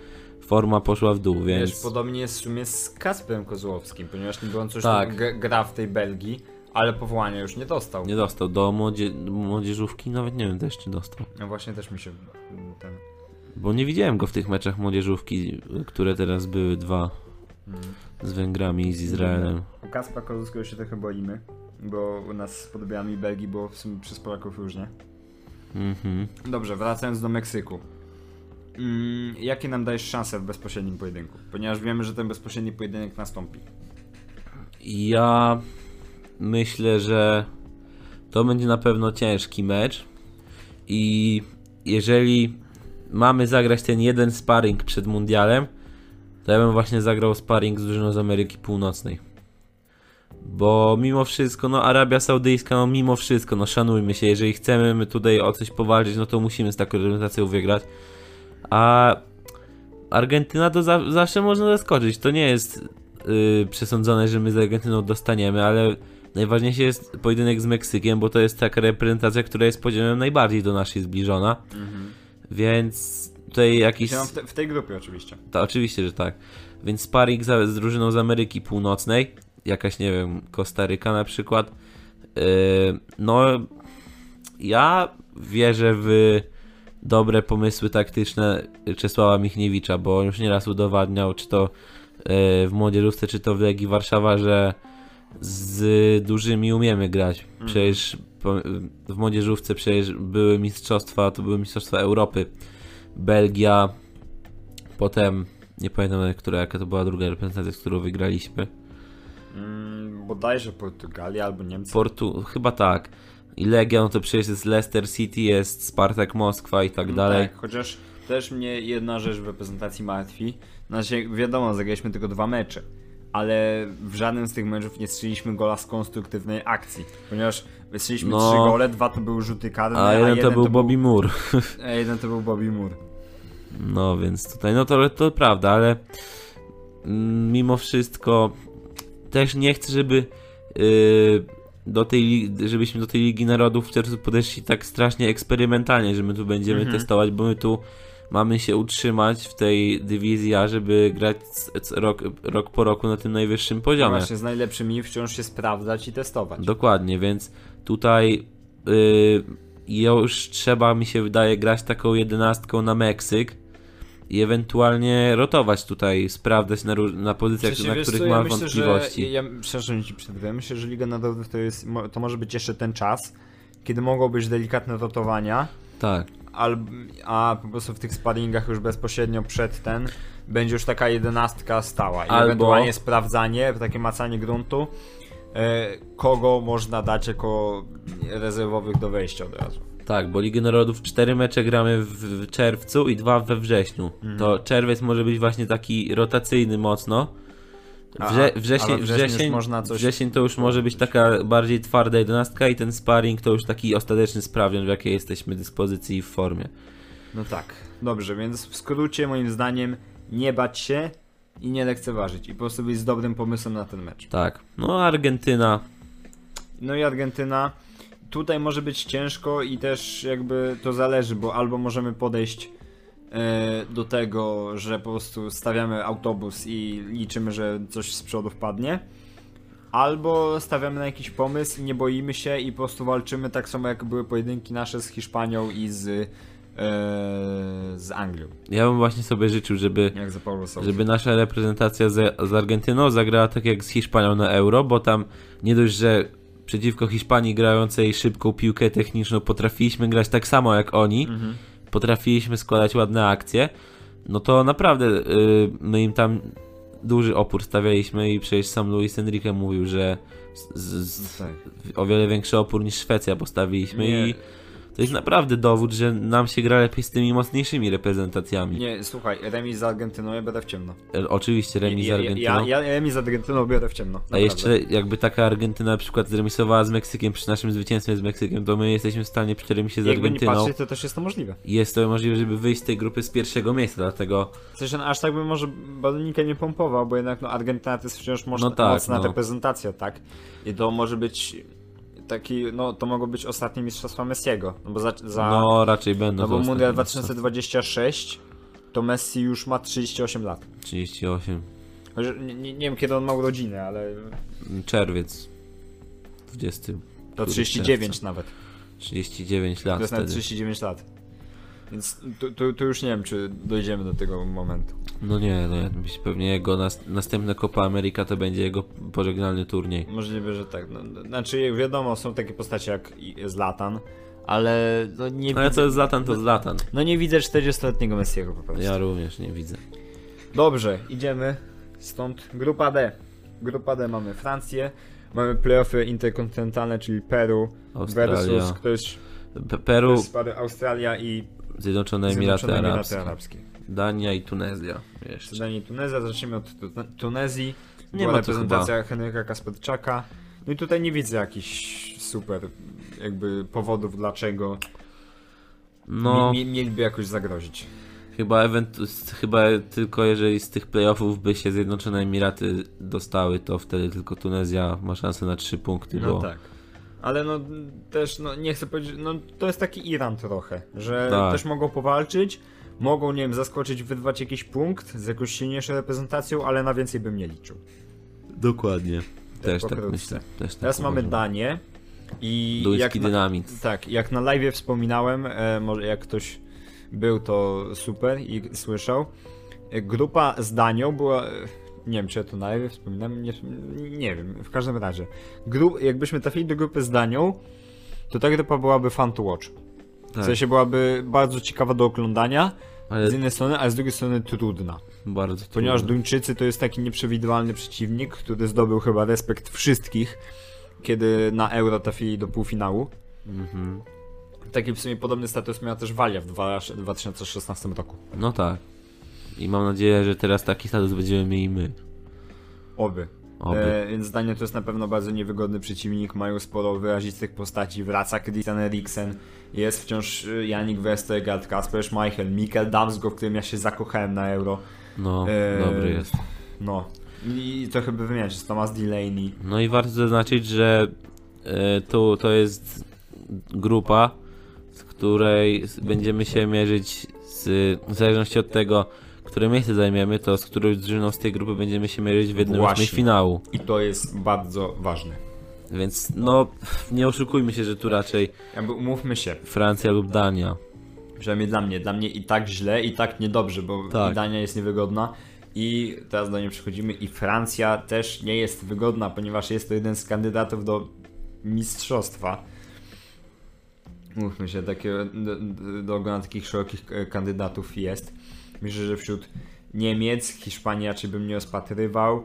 B: forma poszła w dół, więc
A: Wiesz, podobnie jest w sumie z Kasprem Kozłowskim, ponieważ niby on coś
B: Tak.
A: g- gra w tej Belgii, ale powołania już nie dostał.
B: nie dostał do młodzie, młodzieżówki, nawet nie wiem też czy dostał.
A: No właśnie też mi się mm, ten...
B: Bo nie widziałem go w tych meczach młodzieżówki, które teraz były dwa z Węgrami i z Izraelem.
A: U Kaspra Kozłowskiego się trochę boimy, bo u nas z podobiami Belgii było w sumie przez Polaków różnie.
B: Mhm.
A: Dobrze, wracając do Meksyku. Mm, jakie nam dajesz szanse w bezpośrednim pojedynku? Ponieważ wiemy, że ten bezpośredni pojedynek nastąpi.
B: Ja myślę, że to będzie na pewno ciężki mecz i jeżeli mamy zagrać ten jeden sparring przed mundialem, to ja bym właśnie zagrał sparring z drużyną z Ameryki Północnej. Bo mimo wszystko, no Arabia Saudyjska, no mimo wszystko, no szanujmy się, jeżeli chcemy my tutaj o coś powalczyć, no to musimy z taką reprezentacją wygrać. A Argentyna to za- zawsze można zaskoczyć. To nie jest yy, przesądzone, że my z Argentyną dostaniemy, ale najważniejszy jest pojedynek z Meksykiem, bo to jest taka reprezentacja, która jest poziomem najbardziej do naszej zbliżona. Więc tutaj jakiś.
A: Ja mam w, te, w tej grupie oczywiście.
B: Ta, oczywiście, że tak. Więc sparring za, z drużyną z Ameryki Północnej, jakaś, nie wiem, Kostaryka na przykład. Yy, no, ja wierzę w dobre pomysły taktyczne Czesława Michniewicza, bo on już nieraz udowadniał, czy to yy, w Młodzieżówce, czy to w Legii Warszawa, że z dużymi umiemy grać. Przecież po- w Młodzieżówce przecież były mistrzostwa, to były mistrzostwa Europy. Belgia, Potem nie pamiętam, ale która, jaka to była druga reprezentacja, z którą wygraliśmy.
A: Mm, bodajże Portugalia albo Niemcy.
B: Portu, chyba tak. I Legia, no to przecież jest Leicester City, jest Spartak Moskwa i tak
A: No
B: dalej.
A: Tak, chociaż też mnie jedna rzecz w reprezentacji martwi. Znaczy, wiadomo, zagraliśmy tylko dwa mecze, ale w żadnym z tych meczów nie strzeliśmy gola z konstruktywnej akcji, ponieważ strzeliśmy
B: No.
A: trzy gole, dwa to były rzuty karne,
B: A jeden to był Bobby Moore.
A: a jeden to był Bobby Moore.
B: No więc tutaj, no to, to prawda, ale mm, mimo wszystko też nie chcę, żeby yy, do tej, li- żebyśmy do tej Ligi Narodów w czerwcu podeszli tak strasznie eksperymentalnie, że my tu będziemy testować, bo my tu mamy się utrzymać w tej dywizji A, żeby grać c- c- rok, rok po roku na tym najwyższym poziomie.
A: Właśnie z najlepszymi wciąż się sprawdzać i testować.
B: Dokładnie, więc tutaj yy, już trzeba, mi się wydaje, grać taką jedenastką na Meksyk i ewentualnie rotować tutaj, sprawdzać na, róż- na pozycjach,
A: Przecież
B: na
A: wiesz
B: których
A: co,
B: mam
A: myślę,
B: wątpliwości.
A: Że, ja, przepraszam, ci przerwę. Myślę, że Liga Narodów to, jest, mo- to może być jeszcze ten czas, kiedy mogą być delikatne rotowania,
B: Tak,
A: alb, a po prostu w tych sparringach już bezpośrednio przed ten będzie już taka jedenastka stała. I
B: Albo-
A: ewentualnie sprawdzanie, takie macanie gruntu, e, kogo można dać jako rezerwowych do wejścia od razu.
B: tak, bo Ligi Narodów cztery mecze gramy w, w czerwcu i dwa we wrześniu.
A: Mhm.
B: To czerwiec może być właśnie taki rotacyjny mocno.
A: A-
B: Wrze-
A: a-
B: wrzesień,
A: ale wrzesień już
B: wrzesień,
A: można coś-
B: wrzesień to już może być taka bardziej twarda jedenastka i ten sparring to już taki ostateczny sprawdzian, w jakiej jesteśmy dyspozycji i w formie.
A: No tak. Dobrze, więc w skrócie moim zdaniem nie bać się i nie lekceważyć. I po prostu być z dobrym pomysłem na ten mecz.
B: Tak. No Argentyna.
A: No i Argentyna. Tutaj może być ciężko i też jakby to zależy, bo albo możemy podejść e, do tego, że po prostu stawiamy autobus i liczymy, że coś z przodu wpadnie, albo stawiamy na jakiś pomysł i nie boimy się i po prostu walczymy tak samo jak były pojedynki nasze z Hiszpanią i z, e, z Anglią,
B: Ja bym właśnie sobie życzył, żeby,
A: jak za Paulo Sousa.
B: żeby nasza reprezentacja z, z Argentyną zagrała tak jak z Hiszpanią na Euro, bo tam nie dość, że przeciwko Hiszpanii grającej szybką piłkę techniczną potrafiliśmy grać tak samo jak oni,
A: Mhm.
B: potrafiliśmy składać ładne akcje, no to naprawdę y, my im tam duży opór stawialiśmy i przecież sam Luis Enrique mówił, że z, z,
A: Tak.
B: o wiele większy opór niż Szwecja postawiliśmy
A: Nie.
B: i to jest naprawdę dowód, że nam się gra lepiej z tymi mocniejszymi reprezentacjami.
A: Nie, słuchaj, remis z Argentyną ja biorę w ciemno.
B: E, Oczywiście remis z
A: ja, ja,
B: Argentyną.
A: ja, ja remis z Argentyną biorę w ciemno.
B: A
A: naprawdę.
B: jeszcze jakby taka Argentyna na przykład zremisowała z Meksykiem przy naszym zwycięstwie z Meksykiem, to my jesteśmy w stanie przy remisie z
A: Jakby nie
B: Argentyną.
A: patrzeć, to też jest to możliwe.
B: I Jest to możliwe, żeby wyjść z tej grupy z pierwszego miejsca, dlatego
A: W sensie, aż tak bym może Balonika nie pompował, bo jednak no, Argentyna to jest wciąż mocna,
B: No tak,
A: mocna
B: no.
A: reprezentacja, tak? I to może być taki, no to mogło być ostatnie mistrzostwa Messiego, no bo za, za no,
B: No, raczej będą.
A: bo
B: to
A: Mundial
B: ostatnie
A: 2026 to Messi już ma 38 lat.
B: 38.
A: Chociaż Nie, nie, nie wiem kiedy on ma urodziny, ale
B: Czerwiec. 20.
A: to 39 nawet.
B: 39 lat
A: To jest nawet
B: wtedy.
A: 39 lat. Więc tu, tu, tu już nie wiem, czy dojdziemy do tego momentu.
B: No nie, no ja- pewnie jego nas, następna Copa America to będzie jego pożegnalny turniej.
A: Możliwe, że tak. No, znaczy, wiadomo, są takie postacie jak i- Zlatan, ale no nie,
B: Ale
A: widzę,
B: co jest Zlatan, to Zlatan.
A: no nie widzę 40-letniego Messiego po prostu.
B: Ja również nie widzę.
A: Dobrze, idziemy stąd. Grupa D. Grupa D mamy Francję, mamy playoffy interkontynentalne, czyli Peru
B: Australia.
A: versus ktoś
B: Pe- Peru,
A: z pary Australia i
B: Zjednoczone Emiraty
A: Zjednoczone Emiraty
B: Arabskie.
A: Arabskie.
B: Dania i Tunezja. Jeszcze.
A: Sudanie i Tunezja. Zaczniemy od tu- Tunezji.
B: Nie
A: Była
B: ma tu
A: reprezentacja Henryka Kasperczaka. No i tutaj nie widzę jakichś super jakby powodów, dlaczego
B: No,
A: mi, mi, mieliby jakoś zagrozić.
B: chyba, ewentu- s- chyba tylko jeżeli z tych playoffów by się Zjednoczone Emiraty dostały, to wtedy tylko Tunezja ma szansę na 3 punkty,
A: No
B: bo
A: tak. Ale no też no, nie chcę powiedzieć, no to jest taki Iran trochę, że
B: Tak.
A: też mogą powalczyć, mogą, nie wiem, zaskoczyć, wyrwać jakiś punkt z jakąś silniejszą reprezentacją, ale na więcej bym nie liczył.
B: dokładnie. Też
A: Tak
B: tak
A: pokrótce.
B: myślę. Też tak
A: Teraz mamy
B: uważam.
A: Danię i
B: Duński
A: jak na,
B: dynamit.
A: Tak, jak na live wspominałem, e, może jak ktoś był, to super i słyszał. E, Grupa z Danią była. e, Nie wiem, czy ja to na live wspominałem, nie, nie wiem, w każdym razie. Gru, jakbyśmy trafili do grupy z Danią, to ta grupa byłaby fan to watch. W
B: Tak,
A: sensie byłaby bardzo ciekawa do oglądania,
B: ale
A: z jednej strony, a z drugiej strony trudna.
B: bardzo
A: Ponieważ
B: trudno.
A: Duńczycy to jest taki nieprzewidywalny przeciwnik, który zdobył chyba respekt wszystkich, kiedy na Euro trafili do półfinału.
B: Mhm.
A: Taki w sumie podobny status miała też Walia w dwa- 2016 roku.
B: No tak. I mam nadzieję, że teraz taki status będziemy mieli my.
A: Oby.
B: Oby.
A: E, więc zdanie to jest na pewno bardzo niewygodny przeciwnik, mają sporo wyrazistych postaci, wraca Christian Eriksen, jest wciąż y, Janik Westergaard, Kasper Schmeichel, Mikkel Damsgaard, w którym ja się zakochałem na Euro.
B: No,
A: e,
B: dobry jest.
A: No. I trochę by wymieniać, jest Thomas Delaney.
B: No i warto zaznaczyć, że e, tu to jest grupa, z której s- będziemy się mierzyć z, w zależności od tego, które miejsce zajmiemy, to z którą drużyną z tej grupy będziemy się mierzyć w jednym
A: Właśnie.
B: ósmej finału.
A: I to jest bardzo ważne.
B: Więc no, nie oszukujmy się, że tu raczej
A: Jakby umówmy się,
B: Francja lub Dania.
A: przynajmniej dla mnie, dla mnie i tak źle, i tak niedobrze, bo
B: Tak.
A: i Dania jest niewygodna. I teraz do niej przechodzimy i Francja też nie jest wygodna, ponieważ jest to jeden z kandydatów do mistrzostwa. Mówmy się, takie, e, do, do, do grona takich szerokich e, kandydatów jest. Myślę, że wśród Niemiec, Hiszpanii raczej bym nie rozpatrywał.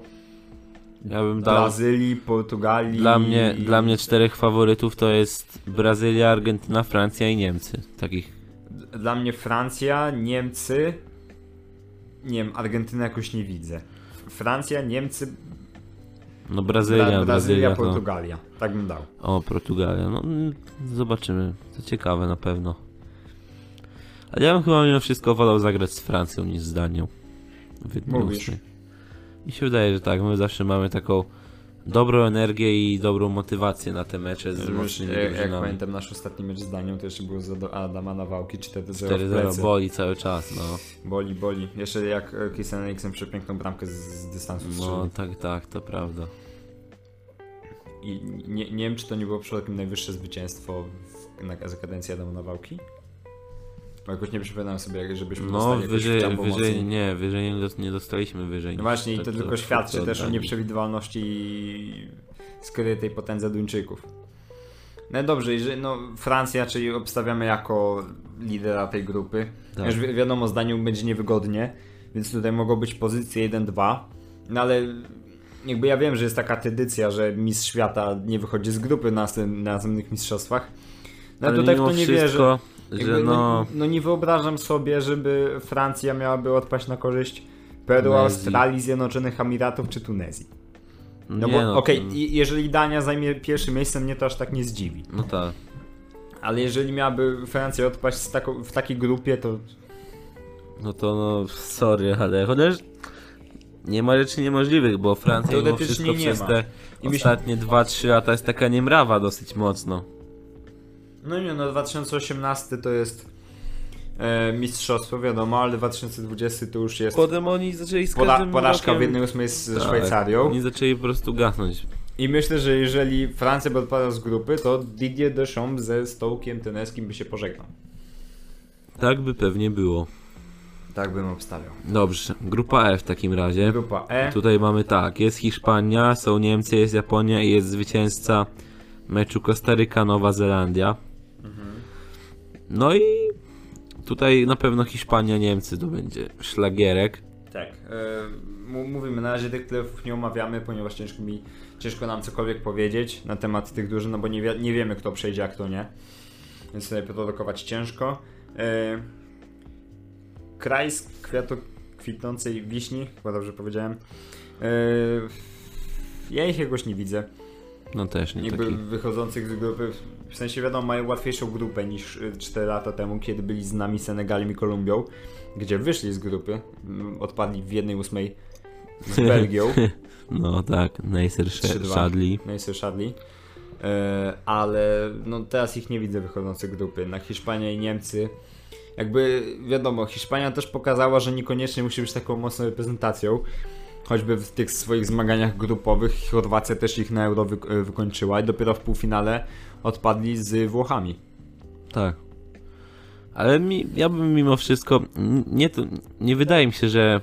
B: Ja bym dał
A: Brazylii, Portugalii.
B: Dla mnie, dla mnie czterech faworytów to jest Brazylia, Argentyna, Francja i Niemcy. Takich.
A: Dla mnie Francja, Niemcy. Nie wiem, Argentyny jakoś nie widzę. Francja, Niemcy,
B: No
A: Brazylia, Brazylia,
B: Brazylia, Brazylia, to...
A: Portugalia. Tak bym dał.
B: O, Portugalia. No mm, zobaczymy. To ciekawe na pewno. Ale ja bym chyba mimo wszystko wolał zagrać z Francją niż z Danią. W jednym
A: Mówisz.
B: ósmej. Mi się wydaje, że tak. My zawsze mamy taką dobrą energię i dobrą motywację na te mecze z
A: Już,
B: mocnymi
A: jak, jak
B: drużynami.
A: pamiętam nasz ostatni mecz z Danią, to jeszcze było za do Adama Nawałki 4-0 w
B: 4-0
A: plecy.
B: boli cały czas, no.
A: Boli, boli. Jeszcze jak e, Christian Eriksen przepiękną bramkę z, z dystansu strzelił.
B: No tak, tak, to prawda.
A: I nie, nie wiem, czy to nie było przypadkiem najwyższe zwycięstwo w, na, za kadencję Adama Nawałki? Bo jakoś nie przypominam sobie, żebyśmy
B: No,
A: dostali jakoś w
B: wyżej,
A: tam
B: wyżej
A: pomocy.
B: nie, wyżej nie, dos- nie dostaliśmy
A: No
B: wyżej. niż
A: właśnie, i
B: tak
A: to tylko
B: do-
A: świadczy
B: do
A: też o
B: Danii.
A: nieprzewidywalności i skrytej potędze Duńczyków. No dobrze, i że- no, Francja, czyli obstawiamy jako lidera tej grupy.
B: Tak.
A: Już wi wiadomo, zdaniu będzie niewygodnie, więc tutaj mogą być pozycje 1-2. No ale jakby ja wiem, że jest taka tradycja, że mistrz świata nie wychodzi z grupy na, następ- na następnych mistrzostwach. No ale
B: Ale
A: tutaj w
B: mimo
A: to nie wierzę.
B: wszystko,
A: Jakby,
B: Że
A: no...
B: no,
A: No, nie wyobrażam sobie, żeby Francja miałaby odpaść na korzyść Peru,
B: Tunezji.
A: Australii, Zjednoczonych Emiratów czy Tunezji. No
B: nie
A: bo
B: no,
A: okej,
B: to-
A: i- jeżeli Dania zajmie pierwsze miejsce, mnie to aż tak nie zdziwi.
B: no tak.
A: Ale jeżeli miałaby Francja odpaść z taką, w takiej grupie, to
B: No to no, sorry, ale chociaż nie ma rzeczy niemożliwych, bo Francja mimo
A: Teoretycznie
B: wszystko
A: nie
B: przez
A: ma.
B: te
A: I myślę,
B: Ostatnie 2-3 lata jest taka niemrawa dosyć mocno.
A: no nie, no 2018 to jest e, mistrzostwo, wiadomo, ale 2020 to już jest
B: Potem oni zaczęli z
A: poda-
B: każdym
A: porażka w
B: rokiem-
A: 1-8 z ze
B: Tak,
A: Szwajcarią.
B: Oni zaczęli po prostu gasnąć.
A: I myślę, że jeżeli Francja by odpadła z grupy, to Didier Deschamps ze Stołkiem Teneskim by się pożegnał.
B: Tak by pewnie było.
A: Tak bym obstawiał.
B: Dobrze, grupa E w takim razie.
A: Grupa E.
B: Tutaj mamy tak, jest Hiszpania, są Niemcy, jest Japonia i jest zwycięzca meczu Kostaryka, Nowa Zelandia. No i tutaj na pewno Hiszpania, Niemcy to będzie szlagierek.
A: Tak. e, m- mówimy na razie tych plewów nie omawiamy, ponieważ ciężko mi, ciężko nam cokolwiek powiedzieć na temat tych dużych, no bo nie, wi- nie wiemy kto przejdzie, a kto nie. Więc tutaj produkować ciężko. E, kraj z kwiatu kwitnącej wiśni, chyba dobrze powiedziałem. E, ja ich jakoś nie widzę.
B: No też nie
A: Jakby
B: taki.
A: wychodzących z grupy, w sensie wiadomo, mają łatwiejszą grupę niż 4 lata temu, kiedy byli z nami Senegalem i Kolumbią, gdzie wyszli z grupy, mm, odpadli w 1-8 z Belgią,
B: No tak, Neisser
A: 3-2.
B: Shadli.
A: no i słyszali. E, ale no teraz ich nie widzę wychodzących z grupy. Na Hiszpanię i Niemcy. Jakby wiadomo, Hiszpania też pokazała, że niekoniecznie musi być taką mocną reprezentacją. Choćby w tych swoich zmaganiach grupowych Chorwacja też ich na euro wy- e, wykończyła i dopiero w półfinale odpadli z Włochami.
B: Tak. Ale mi, ja bym mimo wszystko. n- Nie, to, nie wydaje mi się, że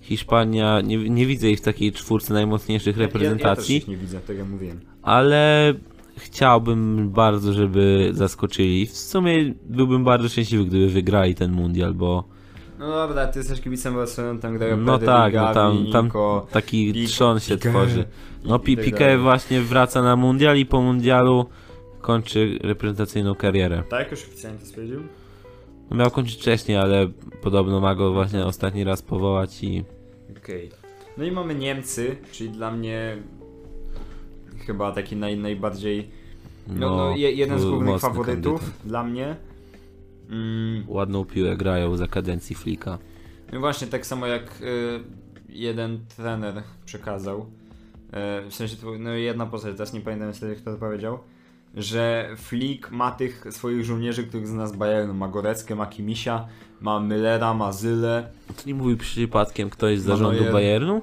B: Hiszpania. Nie, nie widzę ich w takiej czwórce najmocniejszych
A: Ja, ja też
B: reprezentacji,
A: ich nie widzę, tak jak mówiłem.
B: ale chciałbym bardzo, żeby zaskoczyli. W sumie byłbym bardzo szczęśliwy, gdyby wygrali ten mundial, bo.
A: No dobra, ty jesteś kibicem Barcelony, tam grają
B: No
A: Pedri,
B: tak, no
A: Gavi,
B: tam, tam
A: Nico.
B: taki
A: Pi-
B: trzon się
A: Piqué
B: tworzy. No
A: i- i
B: Pi-
A: tak
B: Piqué
A: dalej.
B: właśnie wraca na mundial i po mundialu kończy reprezentacyjną karierę.
A: Tak, już oficjalnie to stwierdził?
B: No Miał kończyć wcześniej, ale podobno ma go właśnie ostatni raz powołać i
A: Okej. No i mamy Niemcy, czyli dla mnie chyba taki naj, najbardziej. No, no, je, jeden z
B: był
A: głównych
B: mocny
A: faworytów
B: kandydat.
A: dla mnie. Mm,
B: Ładną piłę grają za kadencji Flika.
A: no właśnie tak samo jak y, jeden trener przekazał. Y, w sensie to no, jedna postać, teraz nie pamiętam niestety kto to powiedział. Że Flick ma tych swoich żołnierzy, których zna z Bayernu. Ma Goreckę, ma Kimisia, ma Müllera, ma Zyle.
B: To nie mówił przypadkiem ktoś z
A: No,
B: zarządu
A: Manoel.
B: Bayernu?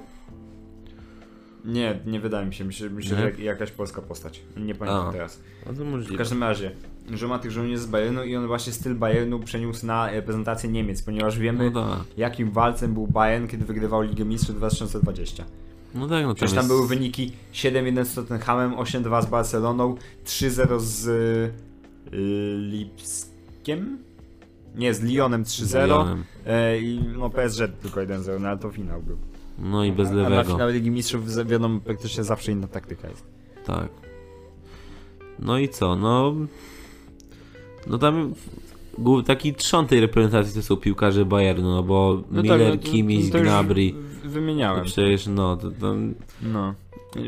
A: Nie, nie wydaje mi się. Myślę, myślę
B: Nie?
A: że jak- jakaś polska postać. Nie pamiętam
B: A.
A: teraz.
B: No to
A: W
B: możliwe.
A: każdym razie, że ma tych żołnierzy z Bayernu i on właśnie styl Bayernu przeniósł na reprezentację Niemiec, ponieważ wiemy
B: No tak,
A: jakim walcem był Bayern, kiedy wygrywał Ligę Mistrzów 2020.
B: no tak, no
A: Przecież
B: tam
A: tam
B: jest...
A: były wyniki 7-1 z Tottenhamem, 8-2 z Barceloną, 3-0 z y, Lipskiem? Nie, z Lyonem 3-0
B: Bayernem.
A: e, i no PSG tylko 1-0, no ale to finał był.
B: No i bez
A: A na
B: lewego.
A: finał Ligi Mistrzów z- wiadomo, praktycznie zawsze inna taktyka jest.
B: Tak. No i co, no... No tam... głó- Taki trzon tej reprezentacji to są piłkarze Bayernu, no bo
A: tak,
B: Miller, Kimmich, Gnabry.
A: Wymieniałem.
B: Przecież no, to, to
A: No.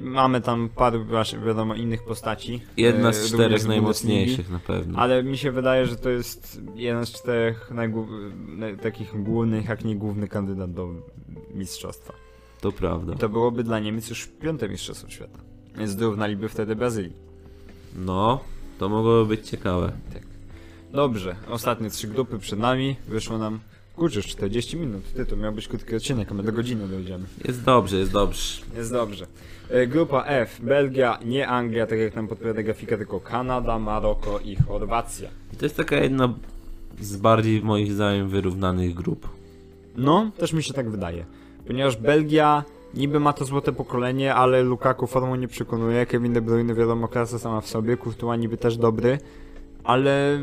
A: Mamy tam paru właśnie, wiadomo, innych postaci.
B: Jedna
A: e,
B: z
A: również
B: czterech
A: Bundesligi,
B: najmocniejszych na pewno.
A: Ale mi się wydaje, że to jest jeden z czterech najgłó- naj- takich głównych, jak nie główny kandydat do mistrzostwa.
B: To prawda.
A: To byłoby dla Niemiec już piąte mistrzostwo świata. Więc dorównaliby wtedy Brazylii.
B: No, to mogłoby być ciekawe.
A: Dobrze, ostatnie trzy grupy przed nami. Wyszło nam, kurczę, 40 minut. Ty, to miał być krótki odcinek, a my do godziny dojdziemy.
B: Jest dobrze, jest dobrze.
A: Jest dobrze. E, Grupa F. Belgia, nie Anglia, tak jak nam podpowiada grafika, tylko Kanada, Maroko i Chorwacja.
B: I to jest taka jedna z bardziej moich zdaniem wyrównanych grup.
A: No, też mi się tak wydaje. Ponieważ Belgia niby ma to złote pokolenie, ale Lukaku formą nie przekonuje. Kevin De Bruyne wiadomo, klasa sama w sobie. Courtois niby też dobry. Ale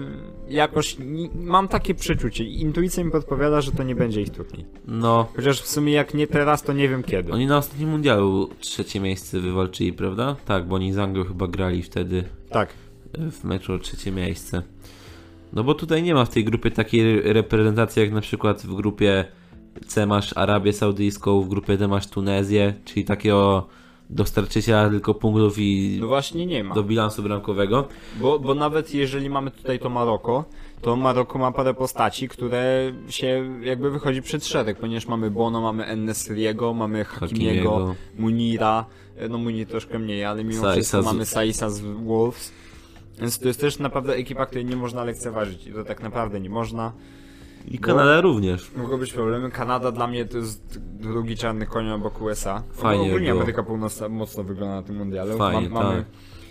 A: jakoś ni- mam takie przeczucie. Intuicja mi podpowiada, że to nie będzie ich turniej.
B: No,
A: Chociaż w sumie jak nie teraz, to nie wiem kiedy.
B: oni na ostatnim mundialu trzecie miejsce wywalczyli, prawda? Tak, bo oni z Anglią chyba grali wtedy
A: Tak.
B: e, w meczu o trzecie miejsce. No bo tutaj nie ma w tej grupie takiej re- reprezentacji jak na przykład w grupie C masz Arabię Saudyjską, w grupie D masz Tunezję, czyli takiego dostarczyciela tylko punktów i
A: No właśnie nie ma.
B: do bilansu bramkowego.
A: Bo, bo nawet jeżeli mamy tutaj to Maroko, to Maroko ma parę postaci, które się jakby wychodzi przed szereg, ponieważ mamy Bono, mamy Ennesriego, mamy Hakimiego,
B: Hakimiego.
A: Munira, no Munir troszkę mniej, ale mimo
B: Saisa
A: wszystko
B: z-
A: mamy Saisa z Wolves. Więc to jest też naprawdę ekipa, której nie można lekceważyć i to tak naprawdę nie można. No.
B: I Kanada również.
A: Mogą być problemy. Kanada dla mnie to jest drugi czarny koń obok USA.
B: Fajnie
A: Ogólnie
B: było.
A: Ameryka Północna mocno wygląda na tym mundialu.
B: Fajnie,
A: Ma- mamy,
B: tak.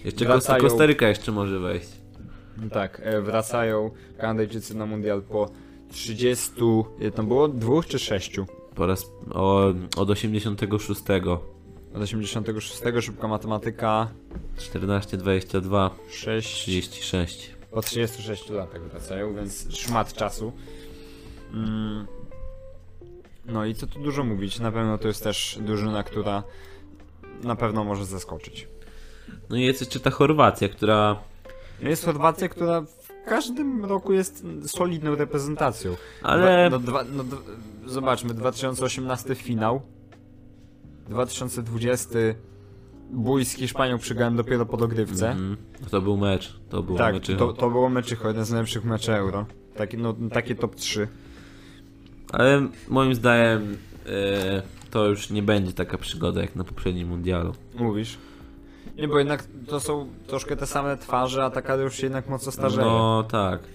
B: Jeszcze
A: wracają-
B: Kosta- Kostaryka jeszcze może wejść.
A: Tak, e, wracają Kanadyjczycy na mundial po 30, ile tam było? Dwóch czy sześciu?
B: Po raz o, od 86.
A: Od 86, szybka matematyka,
B: 14, 22,
A: 6,
B: 36.
A: po 36 latach wracają, więc szmat czasu. Mm. No i co tu dużo mówić, na pewno to jest też drużyna, która na pewno może zaskoczyć.
B: No i jest jeszcze ta Chorwacja, która
A: Jest Chorwacja, która w każdym roku jest solidną reprezentacją.
B: Ale-
A: Dwa, no, dwa, no, d- zobaczmy, 2018 finał. 2020 bój z Hiszpanią przegrałem dopiero po dogrywce.
B: Mm, to był mecz. To był
A: tak,
B: mecz.
A: to, to było meczycho, jeden z najlepszych meczy euro. Taki, no, takie top 3.
B: Ale moim zdaniem e, to już nie będzie taka przygoda jak na poprzednim mundialu.
A: Mówisz? Nie, bo jednak to są troszkę te same twarze, a taka już się jednak mocno starzeje.
B: No tak.
A: Y,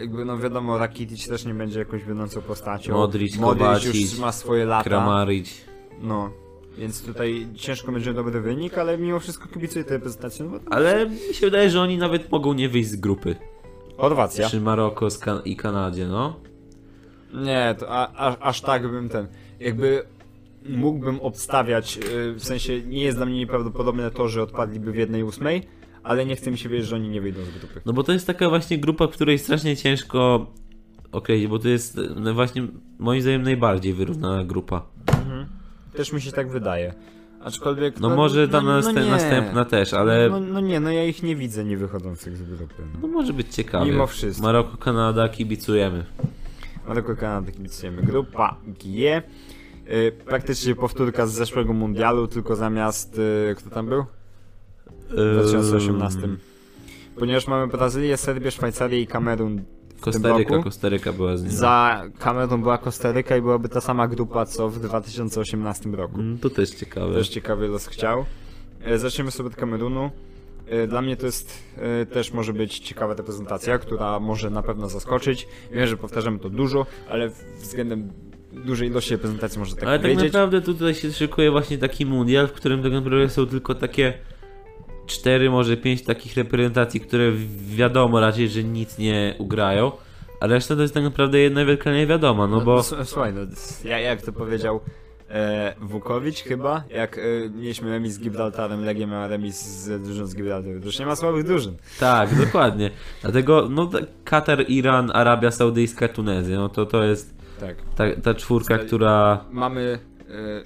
A: jakby no wiadomo, Rakitic też nie będzie jakąś wiodącą postacią.
B: Modric,
A: już
B: Kovacic,
A: trzyma swoje lata.
B: Kramarić.
A: No. Więc tutaj ciężko będzie dobry wynik, ale mimo wszystko kibicuję tej reprezentacji. No bo...
B: Ale mi się wydaje, że oni nawet mogą nie wyjść z grupy.
A: Chorwacja.
B: Przy Maroko z kan- i Kanadzie, no.
A: Nie, to a, aż, aż tak bym ten. Jakby mógłbym obstawiać, y, w sensie nie jest dla mnie nieprawdopodobne to, że odpadliby w jednej ósmej, ale nie chce mi się wierzyć, że oni nie wyjdą z grupy.
B: No bo to jest taka właśnie grupa, w której strasznie ciężko określić, bo to jest e, no właśnie moim zdaniem najbardziej wyrównana grupa.
A: Też mi się tak wydaje. Aczkolwiek.
B: No może ta nastę-
A: nie.
B: następna też, ale
A: No,
B: no,
A: no nie, no ja ich nie widzę nie wychodzących z grupy. No.
B: może być ciekawie.
A: Mimo wszystko.
B: Maroko, Kanada, kibicujemy.
A: Maroko, Kanada, kibicujemy. Grupa G. Y, praktycznie powtórka z zeszłego mundialu, tylko zamiast. Y, kto tam był? W 2018.
B: Ym,
A: Ponieważ mamy Brazylię, Serbię, Szwajcarię i Kamerun. W tym
B: Kostaryka,
A: roku.
B: Kostaryka była z nim.
A: Za Kamerun była Kostaryka i byłaby ta sama grupa co w 2018 roku.
B: Mm, To też ciekawe.
A: Też ciekawy los chciał. E, Zaczniemy sobie od Kamerunu. E, Dla mnie to jest e, też może być ciekawa reprezentacja, która może na pewno zaskoczyć. Wiem, że powtarzamy to dużo, ale w- względem dużej ilości reprezentacji może tak
B: Ale tak
A: powiedzieć.
B: naprawdę tutaj się szykuje właśnie taki mundial, w którym tak naprawdę są tylko takie cztery, może pięć takich reprezentacji, które wi- wiadomo raczej, że nic nie ugrają, a reszta to jest tak naprawdę jedna wielka niewiadoma, no bo...
A: s- Słuchaj, no, s- ja, jak to powiedział e, Wukowicz chyba, jak e, mieliśmy remis z Gibraltarem, Legia miała remis z drużyną z Gibraltarem. To już nie ma słabych drużyn.
B: Tak, dokładnie. Dlatego, no, t- Katar, Iran, Arabia Saudyjska, Tunezja, no to to jest
A: Tak.
B: ta, ta czwórka,
A: Zgadza-
B: która...
A: mamy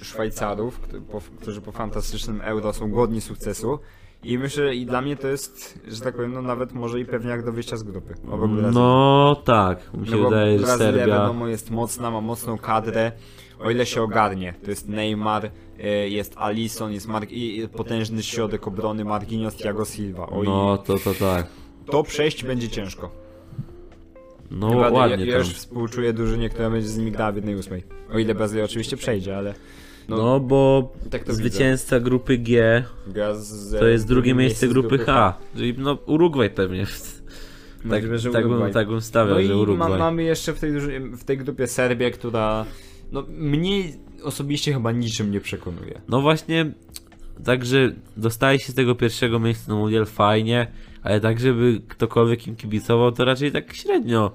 A: e, Szwajcarów, którzy po, którzy po fantastycznym euro są godni sukcesu. I myślę, że i dla mnie to jest, że tak powiem, no nawet może i pewnie jak do wyjścia z grupy. Obok Brazylii.
B: No tak, mi się
A: no bo
B: wydaje, że
A: Brazylia
B: Serbia...
A: wiadomo jest mocna, ma mocną kadrę, o ile się ogarnie. To jest Neymar, e, jest Alisson, jest Mar- i i potężny środek obrony Marquinhos, Thiago Silva. O
B: No, to to tak.
A: i to przejść będzie ciężko.
B: No
A: Naprawdę, ja,
B: ładnie
A: ja
B: tam.
A: już współczuję drużynie, która będzie z nimi grała w 1-8. O ile Brazylia oczywiście przejdzie, ale
B: No, bo
A: Tak to widzę.
B: zwycięzca grupy G
A: gra z,
B: to jest drugie miejsce grupy H, czyli no Urugwaj pewnie. Tak,
A: Możliwe, że
B: tak, bym,
A: Urugwaj.
B: tak bym stawiał,
A: No
B: że
A: i ma,
B: Urugwaj.
A: mamy jeszcze w tej, druży- w tej grupie Serbię, która no, mnie osobiście chyba niczym nie przekonuje.
B: No właśnie, także dostaje się z tego pierwszego miejsca na mundial fajnie, ale tak żeby ktokolwiek im kibicował, to raczej tak średnio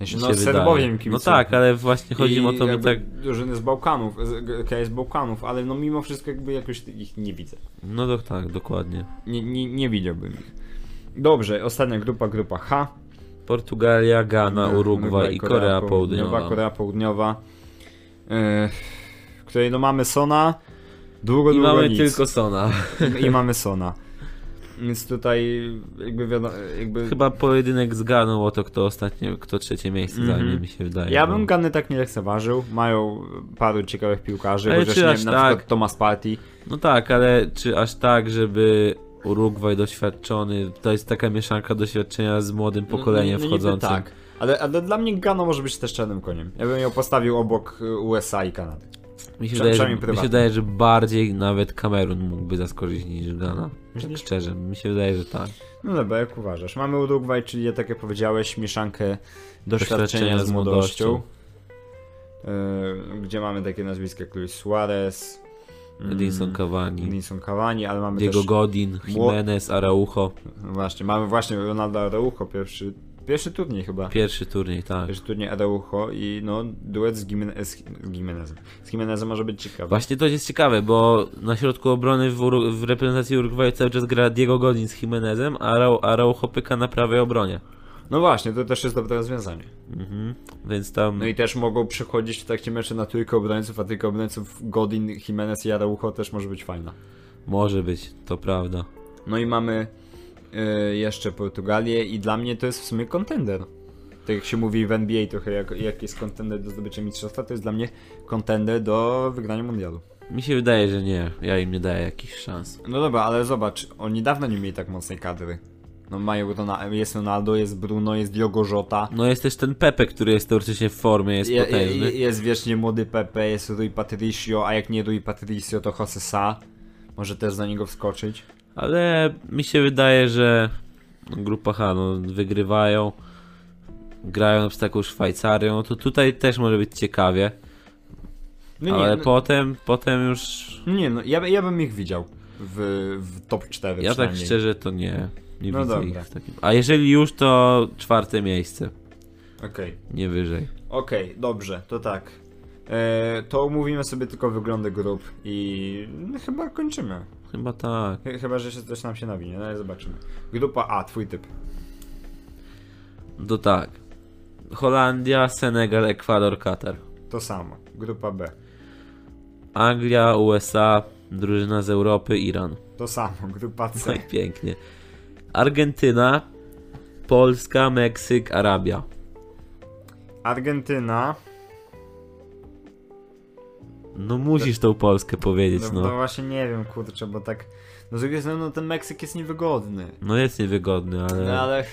A: Ja się,
B: mi
A: no,
B: się
A: Serbowie
B: wydaje.
A: im kibicują.
B: No tak, ale właśnie chodzi
A: I
B: o to, by
A: jakby
B: tak...
A: Drużyny z Bałkanów, z, z Bałkanów, ale no mimo wszystko jakby jakoś ich nie widzę.
B: No to tak, dokładnie.
A: Nie, nie, nie widziałbym ich. Dobrze, ostatnia grupa, grupa H.
B: Portugalia, Ghana, Urugwaj i Korea
A: Południowa.
B: Południowa.
A: Korea Południowa. Yy, w której no mamy Sona, długo,
B: I
A: długo
B: mamy
A: nic.
B: tylko Sona.
A: I mamy Sona. Więc tutaj jakby wiadomo, jakby...
B: Chyba pojedynek zgarnął o to, kto ostatnie, kto trzecie miejsce
A: Mhm.
B: zajmie, mi się wydaje.
A: Ja
B: bo-
A: bym Gany tak nie lekceważył. Mają paru ciekawych piłkarzy,
B: Ale
A: chociaż
B: czy
A: nie
B: aż
A: wiem, na
B: tak?
A: przykład Thomas Party.
B: No tak, ale czy aż tak, żeby Urugwaj doświadczony, to jest taka mieszanka doświadczenia z młodym
A: No,
B: pokoleniem
A: niby
B: wchodzącym.
A: Tak, ale, ale dla mnie Gano może być też czarnym koniem. Ja bym ją postawił obok y, USA i Kanady.
B: Mi się,
A: Prze-
B: wydaje,
A: przynajmniej
B: że, mi się
A: prywatnie.
B: wydaje, że bardziej nawet Kamerun mógłby zaskoczyć niż Ghana. Tak
A: Myślisz?
B: szczerze, mi się wydaje, że tak.
A: No dobra, jak uważasz? Mamy Urugwaj, czyli tak jak powiedziałeś, mieszankę doświadczenia,
B: Doświadczenia
A: z
B: z
A: młodością.
B: młodością.
A: Y, gdzie mamy takie nazwiska jak Luis Suarez, mm,
B: Edinson Cavani,
A: Edinson Cavani, ale mamy
B: Diego
A: też...
B: Godin,
A: Mło-
B: Jimenez, Araujo.
A: No właśnie, mamy właśnie Ronaldo Araujo, pierwszy, pierwszy turniej chyba.
B: Pierwszy turniej, tak.
A: Pierwszy turniej Araujo i no, duet z, Gimenez, z Gimenezem. Z Gimenezem może być ciekawy.
B: Właśnie to jest ciekawe, bo na środku obrony w, Uru- w reprezentacji Urugwaju cały czas gra Diego Godin z Jimenezem, a Arau- Araujo pyka na prawej obronie.
A: No właśnie, to też jest dobre rozwiązanie.
B: Mhm. Więc tam...
A: No i też mogą przychodzić w trakcie meczu na trójkę obrońców, a trójkę obrońców Godin, Jimenez i Araujo też może być fajna.
B: Może być, to prawda.
A: No i mamy y, jeszcze Portugalię i dla mnie to jest w sumie kontender. Tak jak się mówi w NBA trochę, jak, jak jest kontender do zdobycia mistrzostwa, to jest dla mnie kontender do wygrania mundialu.
B: Mi się wydaje, że nie. Ja im nie daję jakichś szans.
A: No dobra, ale zobacz, oni dawno nie mieli tak mocnej kadry. No mają Rona- jest Ronaldo, jest Bruno, jest Diogo Jota.
B: No jest też ten Pepe, który jest teoretycznie w formie, jest
A: Je, je,
B: potężny.
A: jest wiecznie młody Pepe, jest Rui Patricio, a jak nie Rui Patricio, to Jose Sa. Może też za niego wskoczyć.
B: Ale mi się wydaje, że grupa H no, wygrywają, grają na przykład z taką Szwajcarią, to tutaj też może być ciekawie.
A: No nie,
B: ale
A: no,
B: potem, potem już...
A: nie, no ja, ja bym ich widział w, w top 4
B: Ja tak
A: przynajmniej.
B: szczerze to nie. Nie
A: No
B: widzę
A: dobra.
B: ich w takim... A jeżeli już, to czwarte miejsce.
A: Okej,
B: Nie wyżej.
A: okej, dobrze, to tak. E, to omówimy sobie tylko wyglądy grup i no, chyba kończymy.
B: Chyba tak.
A: Chy- Chyba, że się coś nam się nawinie, no ale zobaczymy. Grupa A, twój typ.
B: To tak. Holandia, Senegal, Ekwador, Katar.
A: To samo. Grupa B.
B: Anglia, USA, drużyna z Europy, Iran.
A: To samo. Grupa C.
B: Tak pięknie. Argentyna, Polska, Meksyk, Arabia.
A: Argentyna.
B: No musisz tą Polskę powiedzieć,
A: No, no
B: no.
A: właśnie nie wiem, kurczę, bo tak. No z drugiej strony no, ten Meksyk jest niewygodny.
B: No jest niewygodny,
A: No
B: ale...
A: ale.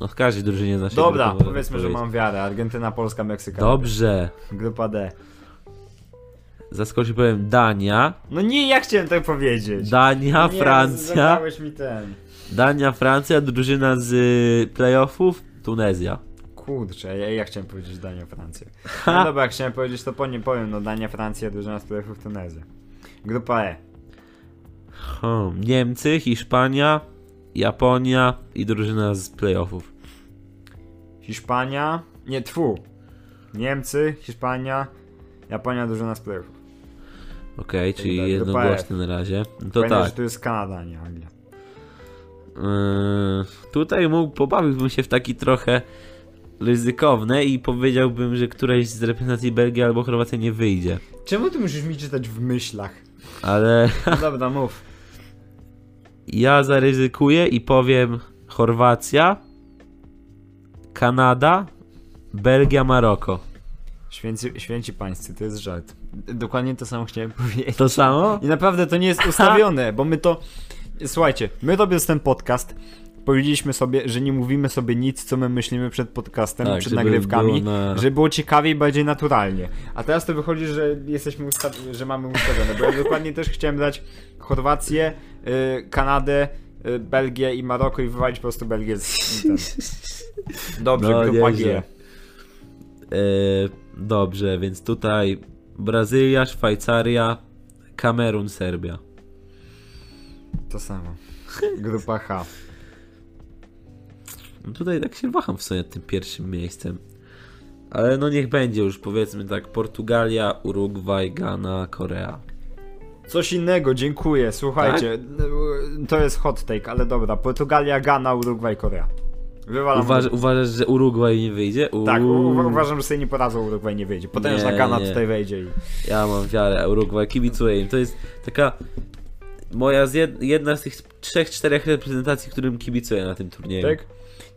B: No w każdej drużynie naszej
A: Dobra,
B: grupy
A: powiedzmy, że
B: powiedzieć.
A: mam wiarę. Argentyna, Polska, Meksyk.
B: Dobrze.
A: Grupa D.
B: Zaskoczy powiem Dania.
A: No nie, ja chciałem tak powiedzieć.
B: Dania,
A: nie, no,
B: Francja.
A: zabrałeś mi ten.
B: Dania, Francja, drużyna z y, playoffów, Tunezja.
A: Kurczę, ja, ja chciałem powiedzieć Dania, Francję. No dobra, jak chciałem powiedzieć, to po nie powiem. No Dania, Francja, drużyna z playoffów Tunezja. Grupa E.
B: Hmm. Niemcy, Hiszpania, Japonia i drużyna z playoffów.
A: Hiszpania, nie twu. Niemcy, Hiszpania, Japonia drużyna z playoffów.
B: Okej, czyli
A: tak,
B: jednogłośny na razie. No to
A: Pamiętaj,
B: tak.
A: że tu jest Kanada, a nie Anglia.
B: Yy, tutaj mógł, pobawiłbym się w taki trochę ryzykowne i powiedziałbym, że któreś z reprezentacji Belgii albo Chorwacji nie wyjdzie.
A: Czemu ty musisz mi czytać w myślach?
B: Ale
A: No dobra, mów.
B: ja zaryzykuję i powiem Chorwacja, Kanada, Belgia, Maroko.
A: Święci, święci pańscy, to jest żart. Dokładnie to samo chciałem powiedzieć.
B: To samo?
A: I naprawdę to nie jest ustawione, bo my to... Słuchajcie, my robiąc ten podcast, powiedzieliśmy sobie, że nie mówimy sobie nic, co my myślimy przed podcastem,
B: Tak,
A: przed
B: żeby
A: nagrywkami,
B: było na-
A: żeby było ciekawiej, bardziej naturalnie. A teraz to wychodzi, że jesteśmy usta... że mamy ustawione, bo ja dokładnie też chciałem dać Chorwację, y, Kanadę, y, Belgię i Maroko i wywalić po prostu Belgię z... Ten. Dobrze,
B: No,
A: grupa G.
B: nieźle. Yy, dobrze, więc tutaj Brazylia, Szwajcaria, Kamerun, Serbia.
A: To samo. Grupa H.
B: No tutaj tak się waham w sumie nad tym pierwszym miejscem. Ale no niech będzie już, powiedzmy tak, Portugalia, Urugwaj, Ghana, Korea.
A: Coś innego, dziękuję. Słuchajcie,
B: Tak?
A: to jest hot take, ale dobra. Portugalia, Ghana, Urugwaj, Korea. Wywalam.
B: Uważ, uważasz, że Urugwaj nie wyjdzie? Uuu.
A: tak, u- uważam, że sobie nie poradzą Urugwaj nie wyjdzie. Potężna
B: Nie,
A: Ghana
B: nie.
A: tutaj wejdzie i.
B: Ja mam wiarę, Urugwaj, kibicuję im. To jest taka moja z jed, jedna z tych trzech, czterech reprezentacji, którym kibicuję na tym turnieju.
A: Tak?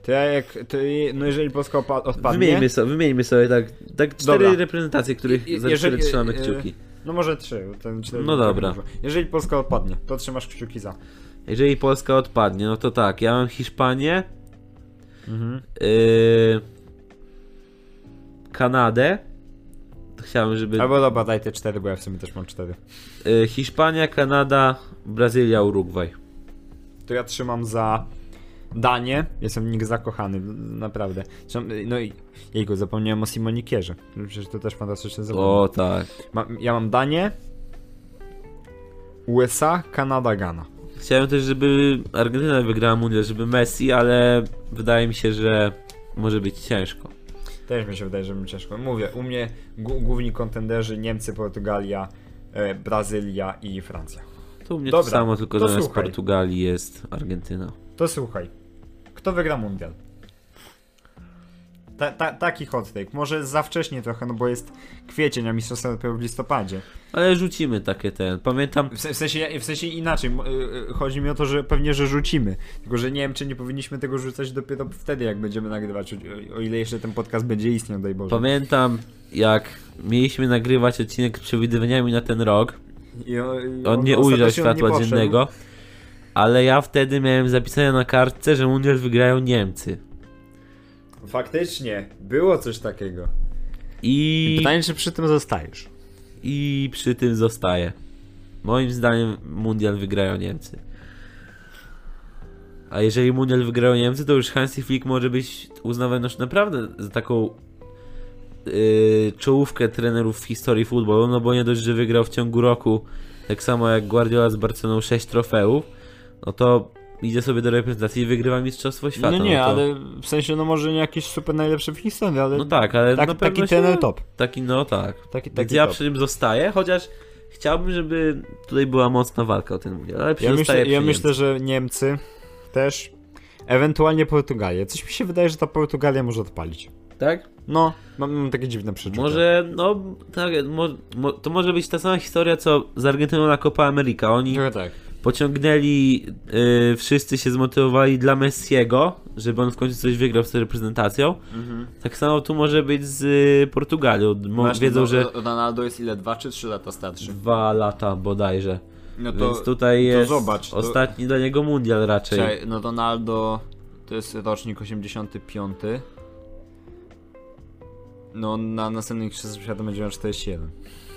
A: To ja jak, to, je- no jeżeli Polska opa- odpadnie,
B: Wymieńmy sobie, wymieńmy sobie tak, tak cztery
A: Dobra.
B: reprezentacje, których,
A: I-
B: za
A: jeżeli-
B: które trzymamy
A: e,
B: kciuki.
A: no może trzy, bo ten cztery
B: No dobra.
A: dużo. Jeżeli Polska odpadnie, to trzymasz kciuki za.
B: Jeżeli Polska odpadnie, no to tak, ja mam Hiszpanię,
A: Mhm.
B: yy, Kanadę, to chciałbym, żeby
A: Albo dobra, daj te cztery, bo ja w sumie też mam cztery.
B: yy, Hiszpania, Kanada, Brazylia, Urugwaj.
A: To ja trzymam za Danię. Jestem w nich zakochany, naprawdę. Trzymam, no i jego zapomniałem o Simonikierze. Przecież to też fantastyczny zawodnik.
B: O tak.
A: Ma, ja mam Danię, USA, Kanada, Ghana.
B: Chciałem też, żeby Argentyna wygrała mundial, żeby Messi, ale wydaje mi się, że może być ciężko.
A: Też mi się wydaje, że mi ciężko. Mówię, u mnie gó- główni kontenderzy Niemcy, Portugalia, e, Brazylia i Francja.
B: To u mnie
A: Dobra,
B: to samo, tylko
A: to
B: zamiast
A: słuchaj.
B: Portugalii jest Argentyna.
A: To słuchaj, kto wygra mundial? Ta, ta, taki hot take. Może za wcześnie trochę, no bo jest kwiecień, a mistrzostwa dopiero w listopadzie.
B: Ale rzucimy takie ten. Pamiętam,
A: W, se- w, sensie, w sensie inaczej, m- y, y, chodzi mi o to, że pewnie, że rzucimy. Tylko, że nie wiem, czy nie powinniśmy tego rzucać dopiero wtedy, jak będziemy nagrywać, o, o ile jeszcze ten podcast będzie istniał, daj Boże.
B: pamiętam jak mieliśmy nagrywać odcinek z przewidywaniami na ten rok.
A: I o- i
B: On nie
A: No, ostatecznie
B: ujrzał
A: on nie
B: światła
A: poszedł.
B: dziennego. Ale ja wtedy miałem zapisane na kartce, że mundial wygrają Niemcy.
A: Faktycznie, było coś takiego.
B: I,
A: Pytanie, czy przy tym zostajesz?
B: I przy tym zostaje. Moim zdaniem mundial wygrają Niemcy. A jeżeli mundial wygrają Niemcy, to już Hansi Flick może być uznawany już naprawdę za taką yy, czołówkę trenerów w historii futbolu, no bo nie dość, że wygrał w ciągu roku, tak samo jak Guardiola z Barceloną 6 trofeów, no to idzie sobie do reprezentacji i wygrywa Mistrzostwo Świata.
A: No nie,
B: to,
A: ale w sensie, no może nie jakiś super najlepszy w historii, ale
B: No tak, ale
A: tak-
B: na
A: taki
B: pewno się-
A: trener top.
B: Taki, no tak.
A: taki,
B: Więc
A: taki
B: ja
A: top.
B: przy tym zostaję, chociaż chciałbym, żeby tutaj była mocna walka o ten mundial, ale
A: Ja,
B: zostaję
A: myślę,
B: przy
A: ja
B: nim.
A: myślę, że Niemcy też, ewentualnie Portugalia. Coś mi się wydaje, że ta Portugalia może odpalić.
B: Tak?
A: No, mam, mam takie dziwne przeczucia.
B: Może, no, tak, mo, mo, to może być ta sama historia, co z Argentyną na Copa America. Oni
A: Trochę tak.
B: pociągnęli, y, wszyscy się zmotywowali dla Messiego, żeby on w końcu coś wygrał z tą reprezentacją.
A: Mhm.
B: Tak samo tu może być z y, Portugalią. Mo, wiedzą,
A: no,
B: że
A: e, Ronaldo jest ile? Dwa czy trzy lata starszy?
B: dwa lata bodajże.
A: No
B: Więc tutaj jest
A: zobacz, to-
B: ostatni dla niego mundial raczej.
A: Czekaj, no Ronaldo to jest rocznik 85. No na następnych Mistrzostwach Świata będzie miał 41.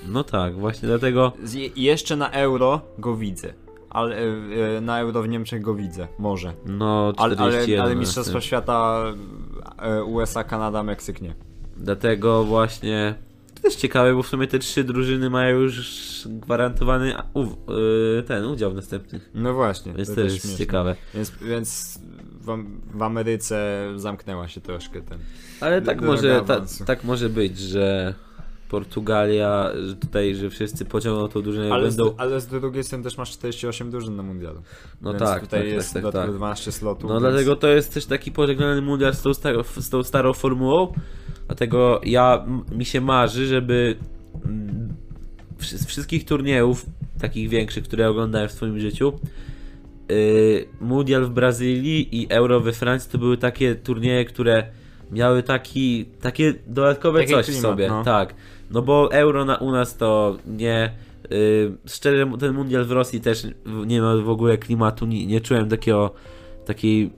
B: No tak, właśnie dlatego...
A: Z, je- jeszcze na euro go widzę. Ale e, e, na euro w Niemczech go widzę, może.
B: No,
A: Ale,
B: 41.
A: ale, ale
B: na
A: Mistrzostwa
B: tym.
A: Świata e, USA, Kanada, Meksyk nie.
B: Dlatego właśnie. To też ciekawe, bo w sumie te trzy drużyny mają już gwarantowany a- uw- y, ten udział w następnych.
A: No właśnie,
B: Więc
A: to
B: też
A: też
B: jest
A: śmieszne.
B: ciekawe.
A: Więc, więc w, Am- w Ameryce zamknęła się troszkę ten.
B: Ale
A: D-
B: tak
A: droga
B: może, ta,
A: awansu.
B: tak może być, że Portugalia, że tutaj, że wszyscy pociągną tą drużynę
A: Ale,
B: będą.
A: z, ale z drugiej strony też masz 48 drużyn na mundialu.
B: No
A: więc
B: tak,
A: tutaj
B: tak,
A: jest
B: tak, tak,
A: dodatkowo
B: tak.
A: 12 slotów. więc-
B: No dlatego to jest też taki pożegnany mundial z tą, starą, z tą starą formułą. Dlatego ja m- mi się marzy, żeby mm, wszy- z wszystkich turniejów, takich większych, które oglądałem w swoim życiu, yy, mundial w Brazylii i Euro we Francji to były takie turnieje, które miały taki, takie dodatkowe
A: Taki
B: coś w
A: klimat,
B: sobie.
A: no.
B: Tak. No bo Euro na, u nas to nie. Yy, szczerze, ten mundial w Rosji też w- nie ma w ogóle klimatu, nie, nie czułem takiego, takiej,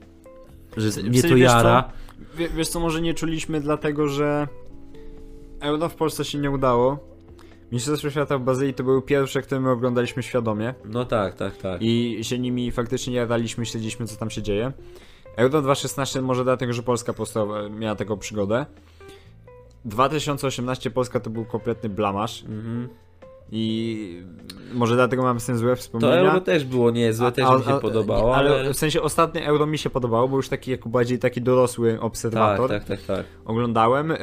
B: że
A: sensie,
B: mnie to
A: wiesz co?
B: jara.
A: Wie, wiesz co, może nie czuliśmy dlatego, że Euro w Polsce się nie udało. Mistrzostwa Świata w Bazylii to były pierwsze, które my oglądaliśmy świadomie
B: No tak, tak, tak.
A: i się nimi faktycznie jadaliśmy, śledziliśmy co tam się dzieje. Euro 2016 może dlatego, że Polska po prostu e, miała taką przygodę. 2018 Polska to był kompletny blamasz
B: Mhm.
A: i może dlatego mamy z tym złe wspomnienia.
B: To Euro też było niezłe, też
A: A-
B: mi
A: a-
B: się
A: a-
B: podobało,
A: nie, ale...
B: ale...
A: w sensie ostatnie Euro mi się podobało, bo już taki jako bardziej taki dorosły obserwator.
B: Tak, tak, tak, tak.
A: oglądałem. Yy,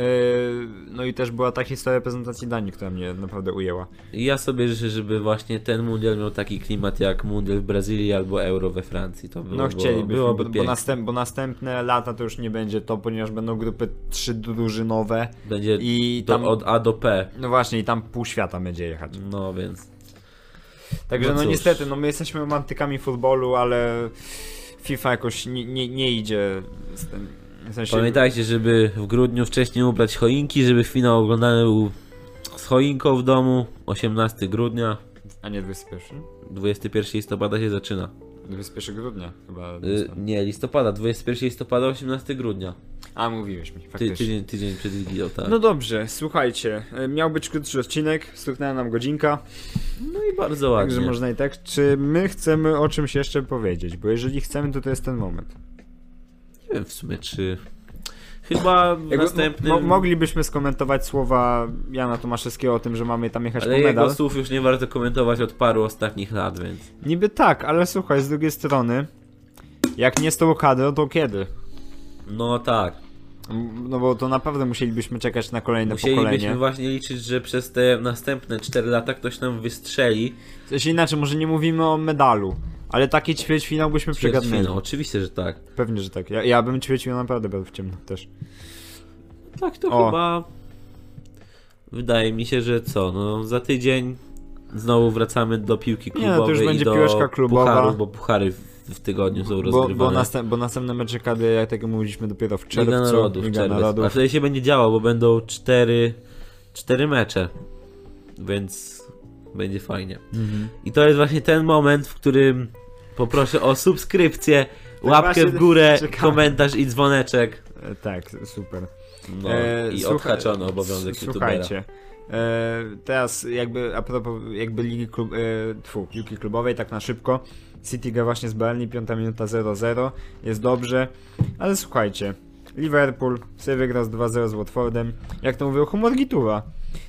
A: no i też była ta historia prezentacji Danii, która mnie naprawdę ujęła.
B: I ja sobie życzę, żeby właśnie ten mundial miał taki klimat jak mundial w Brazylii albo Euro we Francji. To
A: No
B: było,
A: chcielibyśmy,
B: byłoby
A: bo, bo,
B: pięknie.
A: następ, bo następne lata to już nie będzie to, ponieważ będą grupy trzy drużynowe
B: Będzie
A: i
B: to
A: tam...
B: od A do P.
A: No właśnie, i tam pół świata będzie jechać.
B: No więc.
A: Także
B: No
A: no,
B: cóż.
A: niestety, no my jesteśmy romantykami futbolu, ale FIFA jakoś nie, nie, nie idzie z tym. W sensie,
B: Pamiętajcie, żeby w grudniu wcześniej ubrać choinki, żeby finał oglądany był z choinką w domu. 18 grudnia,
A: A nie 21?
B: 21 listopada się zaczyna.
A: 21 grudnia chyba.
B: Y, nie, listopada, 21 listopada, 18 grudnia.
A: A mówiłeś mi,
B: Ty,
A: faktycznie.
B: tydzień, tydzień przed Wigilią, tak.
A: No dobrze, słuchajcie, e, miał być krótszy odcinek, stuknęła nam godzinka,
B: No i bardzo ładnie.
A: także można i tak. Czy my chcemy o czymś jeszcze powiedzieć? Bo jeżeli chcemy, to to jest ten moment.
B: Nie wiem w sumie, czy... Chyba w
A: Jakby,
B: następnym...
A: mo- moglibyśmy skomentować słowa Jana Tomaszewskiego o tym, że mamy tam jechać
B: Ale
A: po medal.
B: jego słów już nie warto komentować od paru ostatnich lat, więc...
A: Niby tak, ale słuchaj, z drugiej strony, jak nie z tą kadrą, to kiedy?
B: No tak.
A: M- No bo to naprawdę musielibyśmy czekać na kolejne
B: Musielibyśmy
A: pokolenie.
B: właśnie liczyć, że przez te następne 4 lata ktoś nam wystrzeli.
A: W sensie Znaczy, inaczej, może nie mówimy o medalu, ale taki ćwierćfinał byśmy przegadnęli.
B: Ćwierćfinał, oczywiście, że tak.
A: Pewnie, że tak. Ja, ja bym ćwierćfinał naprawdę był w ciemno też.
B: Tak, to
A: O.
B: chyba. Wydaje mi się, że co? No, za tydzień znowu wracamy do piłki
A: Nie, no, to
B: klubowej.
A: już będzie
B: i do
A: piłeczka klubowa.
B: Pucharów, bo puchary w, w tygodniu są
A: Bo,
B: rozgrywane.
A: bo, następ, bo następne mecze KD, jak tego mówiliśmy, dopiero w czerwcu.
B: Liga Narodów,
A: Liga
B: czerwiec. A
A: Narodów.
B: wtedy się będzie działo, bo będą cztery, cztery mecze. Więc będzie fajnie.
A: Mhm.
B: I to jest właśnie ten moment, w którym poproszę o subskrypcję,
A: Tak
B: łapkę
A: właśnie
B: w górę,
A: czekamy.
B: komentarz i dzwoneczek.
A: E, Tak, super.
B: No,
A: E,
B: I
A: słucha-
B: odhaczony obowiązek
A: s-
B: youtubera.
A: Słuchajcie, e, teraz jakby a propos jakby ligi klub, e, tfu, piłki klubowej, tak na szybko. City gra właśnie z Berlin, 5 minuta 0-0, jest dobrze, ale słuchajcie, Liverpool sobie wygrał z 2-0 z Watfordem, jak to mówił, humor gitura,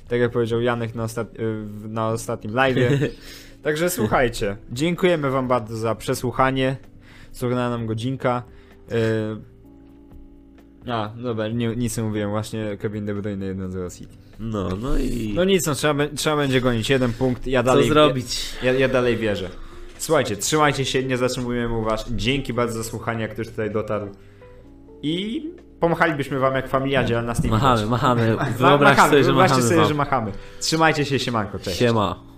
A: tak jak powiedział Janek na, ostat, e, w- na ostatnim live. Także słuchajcie, dziękujemy wam bardzo za przesłuchanie, zrównała nam godzinka. E, a, dobra, nie, nic nie mówiłem, właśnie Kevin De Bruyne 1-0 City.
B: No, no i
A: No nic, no, trzeba, be- trzeba będzie gonić jeden punkt, ja
B: co
A: dalej...
B: zrobić?
A: Ja, ja dalej wierzę. Słuchajcie, trzymajcie się, nie zatrzymujemy u was. Dzięki bardzo za słuchanie, jak ktoś tutaj dotarł. I pomachalibyśmy wam jak familiadzie, ale nas nie widać.
B: Machamy, machamy.
A: Ma-
B: Wyobraź
A: machamy,
B: sobie, że
A: wyobraźcie
B: machamy.
A: sobie,
B: wam.
A: że machamy. Trzymajcie się, siemanko, cześć.
B: Siema.